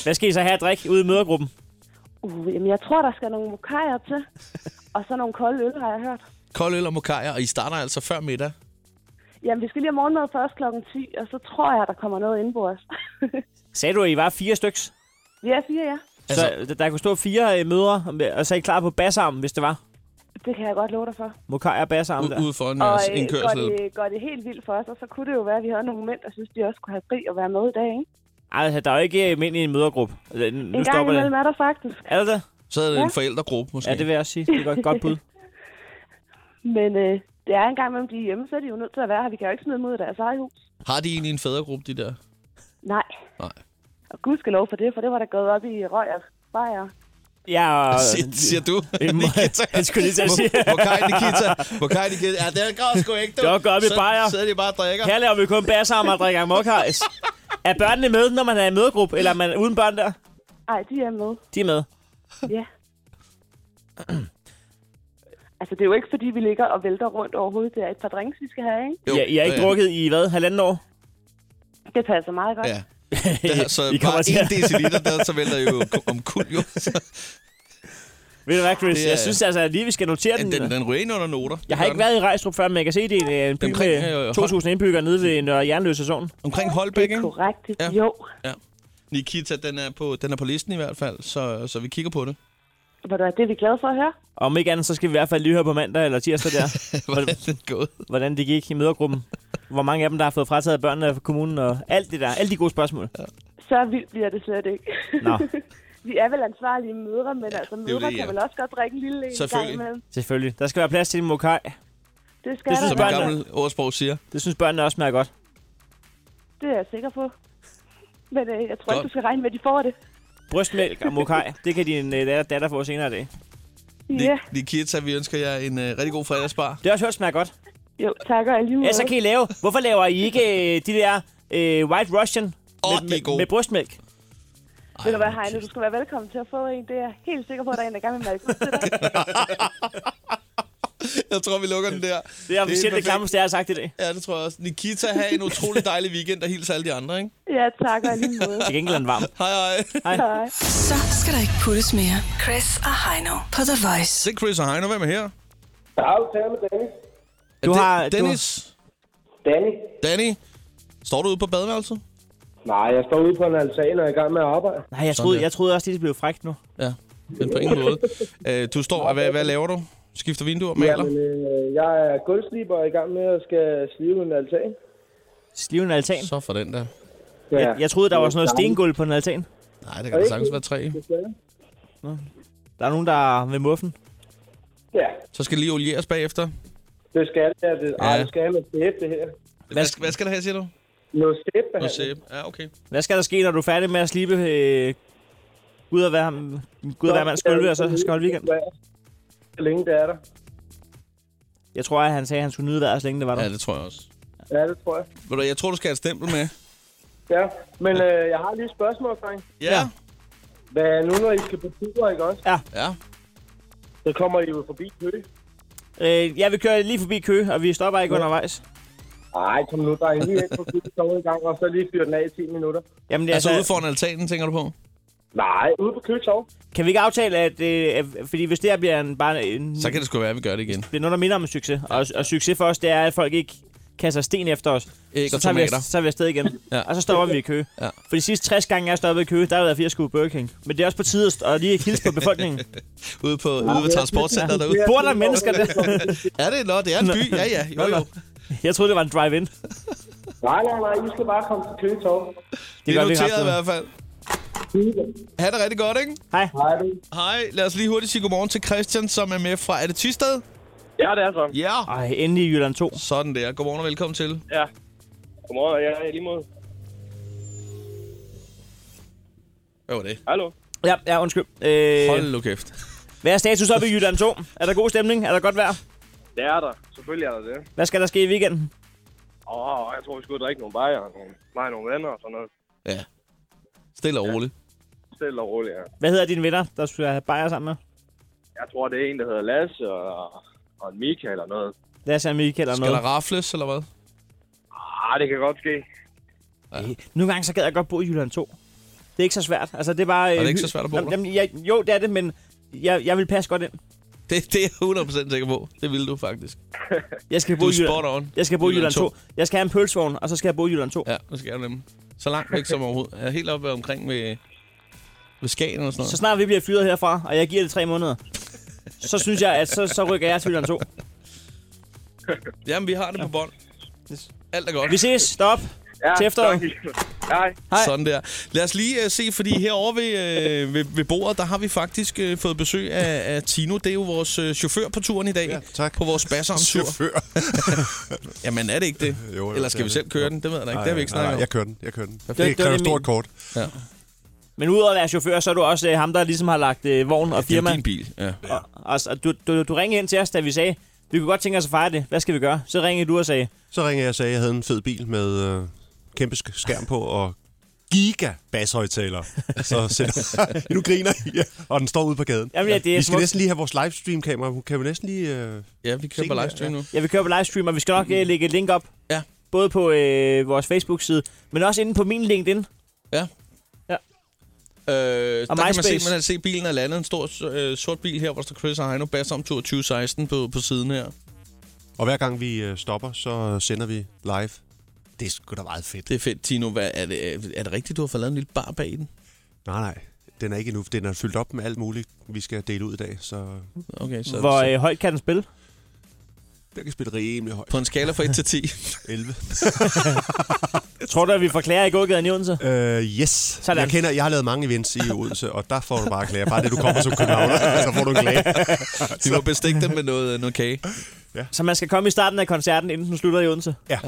Speaker 3: Hvad skal I så have at drikke ude i mødergruppen?
Speaker 12: Uh, jamen, jeg tror, der skal nogle mokajer til, og så nogle kolde øl, har jeg hørt.
Speaker 2: kold øl og mokaja, og I starter altså før middag.
Speaker 12: Jamen, vi skal lige have morgenmad først kl. 10, og så tror jeg, der kommer noget ind på os.
Speaker 3: Sagde du, at I var fire styks?
Speaker 12: Vi er fire, ja.
Speaker 3: Altså, så der kunne stå fire øh, mødre, og- og så er I klar på bassarmen, hvis det var.
Speaker 12: Det kan jeg godt love dig for.
Speaker 3: Mokaja og bassarmen der.
Speaker 2: Ude foran
Speaker 12: og øh, går, det, går det helt vildt for os, og så kunne det jo være, at vi havde nogle mænd, der synes, de også kunne have fri og være med i dag, ikke?
Speaker 3: Ej, altså, der er jo ikke almindelig en mødergruppe. Altså, nu
Speaker 12: en gang
Speaker 3: stopper
Speaker 12: imellem
Speaker 3: det.
Speaker 12: er der faktisk.
Speaker 3: Er det det?
Speaker 2: Så er
Speaker 12: det en Ja.
Speaker 2: forældregruppe, måske.
Speaker 3: Ja, det vil jeg også sige. Det er godt, godt bud.
Speaker 12: Men øh, det er en gang imellem, de er hjemme, så er de jo nødt til at være her. Vi kan jo ikke smide dem ud af deres eget hus.
Speaker 2: Har de egentlig en fædregruppe, de der?
Speaker 12: Nej.
Speaker 2: Nej.
Speaker 12: Og gud skal lov for det, for det var der gået op i røg og fejre.
Speaker 3: Ja, og...
Speaker 2: Siger, siger du? Nikita.
Speaker 3: Jeg skulle lige til at sige.
Speaker 2: Mokai Nikita. Mokai Nikita. Ja, det går sgu ikke, du.
Speaker 3: Det var godt med
Speaker 2: Så
Speaker 3: bajer.
Speaker 2: Sidder de bare og drikker.
Speaker 3: Her laver vi kun bassarmen og drikker mokkajs. Er børnene med, når man er i mødergruppe, eller er man uden børn der?
Speaker 12: Ej, de er med.
Speaker 3: De er med.
Speaker 12: Ja. altså, det er jo ikke, fordi vi ligger og vælter rundt overhovedet. Det er et par drinks, vi skal have, ikke?
Speaker 3: Jo, ja, I har ikke
Speaker 2: ja, ja.
Speaker 3: drukket i, hvad, halvanden år?
Speaker 12: Det passer meget godt.
Speaker 2: Ja. Der, så
Speaker 3: I
Speaker 2: I
Speaker 3: kommer
Speaker 2: bare
Speaker 3: til
Speaker 2: en
Speaker 3: at-
Speaker 2: deciliter, der, så vælter I jo om kul, jo.
Speaker 3: Ved du hvad, Chris?
Speaker 2: Det
Speaker 3: Det,
Speaker 2: er-
Speaker 3: jeg synes altså at lige, vi skal notere den.
Speaker 2: Den, den ryger ind under noter. Det
Speaker 3: Jeg har
Speaker 2: gør
Speaker 3: ikke
Speaker 2: den.
Speaker 3: været i Rejstrup før, men jeg kan se, det er en, en by
Speaker 2: Omkring,
Speaker 3: med
Speaker 2: øh,
Speaker 3: 2.000 indbyggere nede ved en øh, jernløse zone.
Speaker 2: Omkring Holbæk, ikke?
Speaker 12: Korrekt,
Speaker 2: Ja.
Speaker 12: jo.
Speaker 2: Ja. Nikita, den er, på, den er på listen i hvert fald, så, så vi kigger på det.
Speaker 12: Hvor det er vi glade for at høre.
Speaker 3: Om ikke andet, så skal vi i hvert fald lige høre på mandag eller tirsdag der,
Speaker 2: Hvordan det er gået.
Speaker 3: hvordan det gik i mødergruppen. Hvor mange af dem, der har fået frataget børnene fra kommunen og alt det der. Alle de gode spørgsmål.
Speaker 12: Så vildt bliver det slet ikke.
Speaker 3: Nå.
Speaker 12: vi er vel ansvarlige mødre, men altså
Speaker 3: jo
Speaker 12: mødre
Speaker 3: det, ja.
Speaker 12: kan vel også godt drikke en lille en gang imellem.
Speaker 3: Selvfølgelig. Der skal være plads til en mokai.
Speaker 12: Det skal
Speaker 3: Det
Speaker 12: der.
Speaker 3: synes,
Speaker 2: Som et
Speaker 3: børnene,
Speaker 2: gammelt ordsprog siger.
Speaker 3: det synes børnene også smager godt.
Speaker 12: Det er jeg sikker på. Men øh, jeg tror
Speaker 3: Godt.
Speaker 12: ikke, du skal regne med, at de får det.
Speaker 3: Brystmælk og mokai, det kan din øh, datter, datter få senere i dag.
Speaker 12: Ja,
Speaker 2: Nikita, vi ønsker jer en øh, rigtig god fredagsbar.
Speaker 3: Det har også hørt smager godt.
Speaker 12: jo, tak og alligevel.
Speaker 3: Ja, så kan I lave... Hvorfor laver I ikke øh, de der øh, White Russian
Speaker 2: oh,
Speaker 3: med, med, med brystmælk?
Speaker 12: Ved du hvad, Heine, du skal være velkommen til at få en. Det er jeg helt sikker på, at der er en, der gerne vil mærke ud til dig.
Speaker 2: Jeg tror, vi lukker den der.
Speaker 3: Det er officielt det
Speaker 2: perfekt.
Speaker 3: klammeste, jeg har sagt i dag.
Speaker 2: Ja, det tror jeg også. Nikita, have en utrolig dejlig weekend og hils alle de andre, ikke?
Speaker 12: Ja, tak og alligevel.
Speaker 3: Til gengæld er den varm.
Speaker 2: Hej, hej.
Speaker 1: Hej. Så skal der ikke puttes mere. Chris og Heino på The Voice.
Speaker 2: Se Chris og Heino, hvem er her?
Speaker 15: Jeg har aftale med Danny.
Speaker 2: Du
Speaker 3: har- du-
Speaker 2: Dennis?
Speaker 15: Danny?
Speaker 2: Danny? Står du ude på badeværelset?
Speaker 15: Nej, jeg står ude på en altan og er i gang med at arbejde.
Speaker 3: Nej, jeg troede, jeg troede også, det blev frækt nu.
Speaker 2: Ja, men på ingen måde. Øh, du står, og hvad, hvad laver du? Skifter vinduer, maler?
Speaker 15: Jamen, øh, jeg er guldsliber og er i gang med at skal slive en altan.
Speaker 3: Sliven altan.
Speaker 2: Så for den der.
Speaker 15: Ja.
Speaker 3: Jeg, jeg troede, der var sådan noget
Speaker 15: Det er dejligt.
Speaker 3: stengulv på en altan.
Speaker 2: Nej, det kan da sagtens være træ.
Speaker 3: Der er nogen, der er ved muffen.
Speaker 15: Ja,
Speaker 2: Så skal det lige olieres bagefter.
Speaker 15: det skal det. Ja, det, ja.
Speaker 2: Ja.
Speaker 15: Ej, det skal jeg med sæbe, det her.
Speaker 2: Hvad, skal- hvad skal der have, siger du?
Speaker 15: Noget sæbe.
Speaker 2: Noget sæbe. Ja, okay.
Speaker 3: Hvad skal der ske, når du er færdig med at slibe øh, Gud og hver, Gud og hver mand skølve, og så skal holde weekend?
Speaker 15: Så længe det er der.
Speaker 3: Jeg tror, at han sagde, at han skulle nyde vejret, så længe det var der.
Speaker 2: Ja, det tror jeg også.
Speaker 15: Ja, det tror jeg.
Speaker 2: Ved du, jeg tror, du skal have et stempel med.
Speaker 15: Ja, men øh, jeg har lige et spørgsmål, Frank.
Speaker 2: Ja.
Speaker 15: Hvad nu, når I skal på tur, ikke også?
Speaker 3: Ja.
Speaker 2: Ja.
Speaker 15: Så kommer I jo forbi Køge.
Speaker 3: Øh, ja, vi kører lige forbi kø, og vi stopper ikke ja. undervejs.
Speaker 15: Nej, kom nu, der er lige ind på køkkenet i gang, og så lige fyr den af i 10 minutter.
Speaker 3: Jamen, det
Speaker 2: Ja,
Speaker 3: er
Speaker 2: altså ude foran altanen, tænker du på?
Speaker 15: Nej, ude på køkkenet.
Speaker 3: Kan vi ikke aftale, at... Øh, at- fordi hvis det her bliver en, bare en,
Speaker 2: Så kan det sgu være, at vi gør det igen.
Speaker 3: bliver noget, der minder om en succes. Og, og succes for os, det er, at folk ikke kaster sten efter os.
Speaker 2: Æg
Speaker 3: så,
Speaker 2: og
Speaker 3: tager vi,
Speaker 2: tomater.
Speaker 3: så tager vi afsted igen.
Speaker 2: Ja.
Speaker 3: Og så stopper vi i kø.
Speaker 2: Ja.
Speaker 3: For de sidste 60 gange, jeg har stoppet i kø, der har været 80 skulle Burger King. Men det er også på tide at- at lige hilse på befolkningen.
Speaker 2: Ude, på, ude ved transportcenteret derude.
Speaker 3: Bor der mennesker der?
Speaker 2: er det? Nå, det er en by. Ja, ja. Jo, jo.
Speaker 3: Jeg troede, det var en drive-in.
Speaker 15: Nej, nej, nej, I skal bare komme til køkkenet.
Speaker 2: Det
Speaker 3: gør
Speaker 2: er
Speaker 3: vi
Speaker 2: noteret
Speaker 3: resten.
Speaker 2: i hvert fald. Ha' det rigtig godt, ikke?
Speaker 3: Hej.
Speaker 15: Hej.
Speaker 2: Hej. Lad os lige hurtigt sige godmorgen til Christian, som er med fra... Er det Tysted?
Speaker 16: Ja, det er så.
Speaker 2: Ja.
Speaker 3: Ej, endelig i Jylland 2.
Speaker 2: Sådan der. Godmorgen og velkommen til.
Speaker 16: Ja. Godmorgen, jeg er lige mod.
Speaker 2: Hvad var det?
Speaker 16: Hallo?
Speaker 3: Ja, ja undskyld. Øh,
Speaker 2: Hold nu kæft.
Speaker 3: Hvad er status op i Jylland 2? Er der god stemning? Er der godt vejr?
Speaker 16: Det er der. Selvfølgelig er der det.
Speaker 3: Hvad skal der ske i weekenden?
Speaker 16: Åh, jeg tror, vi skulle drikke nogle bajer. og Nogle, mig og nogle venner og sådan noget.
Speaker 2: Ja. Stille og roligt.
Speaker 16: Stille og roligt, ja.
Speaker 3: Hvad hedder dine venner, der skal have bajer sammen med?
Speaker 16: Jeg tror, det er en, der hedder Lasse og, og en Mika eller noget.
Speaker 3: Lad os se, om I ikke eller
Speaker 2: Skal der
Speaker 3: noget.
Speaker 2: rafles, eller hvad?
Speaker 16: Ah, det kan godt ske.
Speaker 3: Øh, Nogle gange så gad jeg godt bo i Jylland 2. Det er ikke så svært. Altså, det er bare...
Speaker 2: det
Speaker 3: øh,
Speaker 2: ikke
Speaker 3: hy-
Speaker 2: så svært at bo
Speaker 3: Jamen,
Speaker 2: der?
Speaker 3: jamen, jeg, jo, det er det, men jeg, jeg vil passe godt ind.
Speaker 2: Det, det er jeg 100% sikker på. Det vil du faktisk.
Speaker 3: Jeg skal
Speaker 2: Du
Speaker 3: bo
Speaker 2: er
Speaker 3: i Jylland.
Speaker 2: spot on.
Speaker 3: Jeg skal bo i
Speaker 2: Jylland
Speaker 3: Jylland 2.
Speaker 2: to.
Speaker 3: Jeg skal have en pølsevogn, og så skal jeg bo i Jylland 2.
Speaker 2: Ja, det skal jeg nemlig. Så langt væk som overhovedet. Jeg er helt oppe omkring ved, ved Skagen og sådan noget.
Speaker 3: Så snart vi bliver fyret herfra, og jeg giver det tre måneder, så synes jeg, at så, så rykker jeg til Jylland 2.
Speaker 2: Jamen, vi har det på bånd. Alt er godt.
Speaker 3: Vi ses. Stop.
Speaker 2: Ja,
Speaker 3: til efteråret.
Speaker 2: Hej. Hej. Sådan der. Lad os lige uh, se, fordi herovre ved, uh, ved, ved bordet, der har vi faktisk uh, fået besøg af, af Tino. Det er jo vores uh, chauffør på turen i dag. Ja, tak. På vores basseromtur.
Speaker 17: Chauffør.
Speaker 2: Jamen er det ikke det?
Speaker 17: Jo, jo,
Speaker 2: Eller skal
Speaker 17: det er
Speaker 2: vi
Speaker 17: det.
Speaker 2: selv køre den? Det ved jeg da ikke.
Speaker 17: Nej,
Speaker 2: det har vi ikke
Speaker 17: nej,
Speaker 2: snakket
Speaker 17: nej,
Speaker 2: om.
Speaker 17: jeg kører den. Jeg kører den. Det,
Speaker 2: var
Speaker 17: det kræver et
Speaker 2: min-
Speaker 17: stort kort.
Speaker 2: Ja.
Speaker 3: Men udover at være chauffør, så er du også øh, ham, der ligesom har lagt øh, vogn og
Speaker 2: Det er jo
Speaker 3: firma.
Speaker 2: din bil. Ja.
Speaker 3: Og, og, og du, du, du ringede hen til os, da vi sagde, vi kunne godt tænke os at fejre det. Hvad skal vi gøre? Så ringede du og sagde,
Speaker 17: Så ringede jeg og sagde, at jeg havde en fed bil med øh, kæmpe sk- skærm på og giga basshøjtaler. Så sætter nu griner I, ja. og den står ude på gaden.
Speaker 3: Jamen, ja, det er
Speaker 17: vi skal
Speaker 3: smukt.
Speaker 17: næsten lige have vores livestream-kamera. Kan vi næsten lige... Øh,
Speaker 2: ja, vi
Speaker 17: se den der? Ja.
Speaker 3: Ja, vi kører på livestream, og vi skal
Speaker 17: Mm.
Speaker 3: nok øh, lægge et link op.
Speaker 2: Ja.
Speaker 3: Både på øh, vores Facebook-side, men også inde på min LinkedIn.
Speaker 2: Ja.
Speaker 3: Ja.
Speaker 2: Øh, der
Speaker 3: Og
Speaker 2: kan man se,
Speaker 3: MySpace.
Speaker 2: man kan se, bilen er landet. En stor øh, sort bil her, hvor der står Chris og Heino. Basseromtur 2016 på, på siden her.
Speaker 17: Og hver gang vi øh, stopper, så sender vi live. Det er sgu da meget fedt.
Speaker 2: Det er fedt, Tino. Hvad, er, det, øh, er det rigtigt, du har fået lavet en lille bar bag den?
Speaker 17: Nej, nej. Den er ikke endnu. Den er fyldt op med alt muligt, vi skal dele ud i dag. Så
Speaker 2: Okay, så,
Speaker 3: Hvor
Speaker 2: så
Speaker 3: øh, højt kan den spille?
Speaker 17: den kan spille rimelig højt.
Speaker 2: på en skala fra 1 til 10.
Speaker 17: 11.
Speaker 3: Tror du, at vi får klager i gågaden i Odense?
Speaker 17: Øh, yes.
Speaker 3: Sådan.
Speaker 17: Jeg kender, jeg har lavet mange events i Odense, og der får du bare klager. Bare det, du kommer som københavner, så får du en klage.
Speaker 2: Vi må bestikke dem med noget, noget kage.
Speaker 3: Så man skal komme i starten af koncerten, inden den slutter i Odense?
Speaker 17: Ja.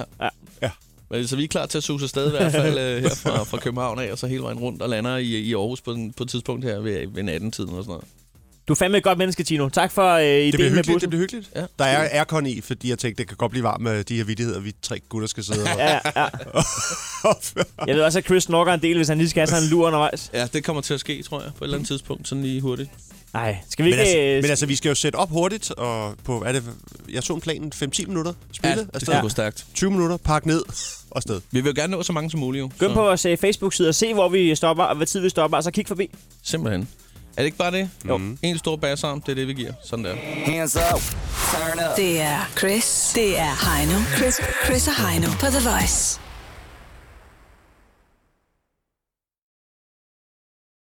Speaker 3: ja.
Speaker 2: Men Så vi er klar til at suge afsted i hvert fald øh, her fra, fra København af, og så hele vejen rundt og lander i, i Aarhus på, en- på et tidspunkt her ved, ved nattentiden og sådan noget.
Speaker 3: Du er fandme et godt menneske, Tino. Tak for øh, ideen
Speaker 17: Det bliver
Speaker 3: med
Speaker 17: hyggeligt, det
Speaker 3: bussen.
Speaker 17: bliver hyggeligt.
Speaker 2: Ja.
Speaker 17: Der er aircon i, fordi jeg tænkte, det kan godt blive varmt med de her vidtigheder, vi tre gutter skal sidde og...
Speaker 3: Ja, ja. Jeg ved også, at Chris snorker en del, hvis han lige skal have sådan en lur undervejs.
Speaker 2: Ja, det kommer til at ske, tror jeg, på et eller andet tidspunkt, sådan lige hurtigt.
Speaker 3: Nej, skal vi
Speaker 17: Men
Speaker 3: ikke...
Speaker 17: altså,
Speaker 3: øh,
Speaker 17: men altså, vi skal jo sætte op hurtigt, og på, er det, jeg så en planen 5-10 minutter, spille
Speaker 2: Ja, det
Speaker 17: afsted.
Speaker 2: skal gå stærkt.
Speaker 17: 20 minutter, pakke ned og sted.
Speaker 2: Vi vil jo gerne nå så mange som muligt, jo.
Speaker 3: Gå ind
Speaker 2: Så-
Speaker 3: på vores øh, Facebook-side og se, hvor vi stopper, og hvad tid vi stopper, og så kig forbi.
Speaker 2: Simpelthen. Er det ikke bare det? Jo. Mm. En stor bassarm, det er det, vi giver. Sådan der.
Speaker 1: Hands up. Turn up. Det er Chris. Det er Heino. Chris, Chris og Heino på The Voice.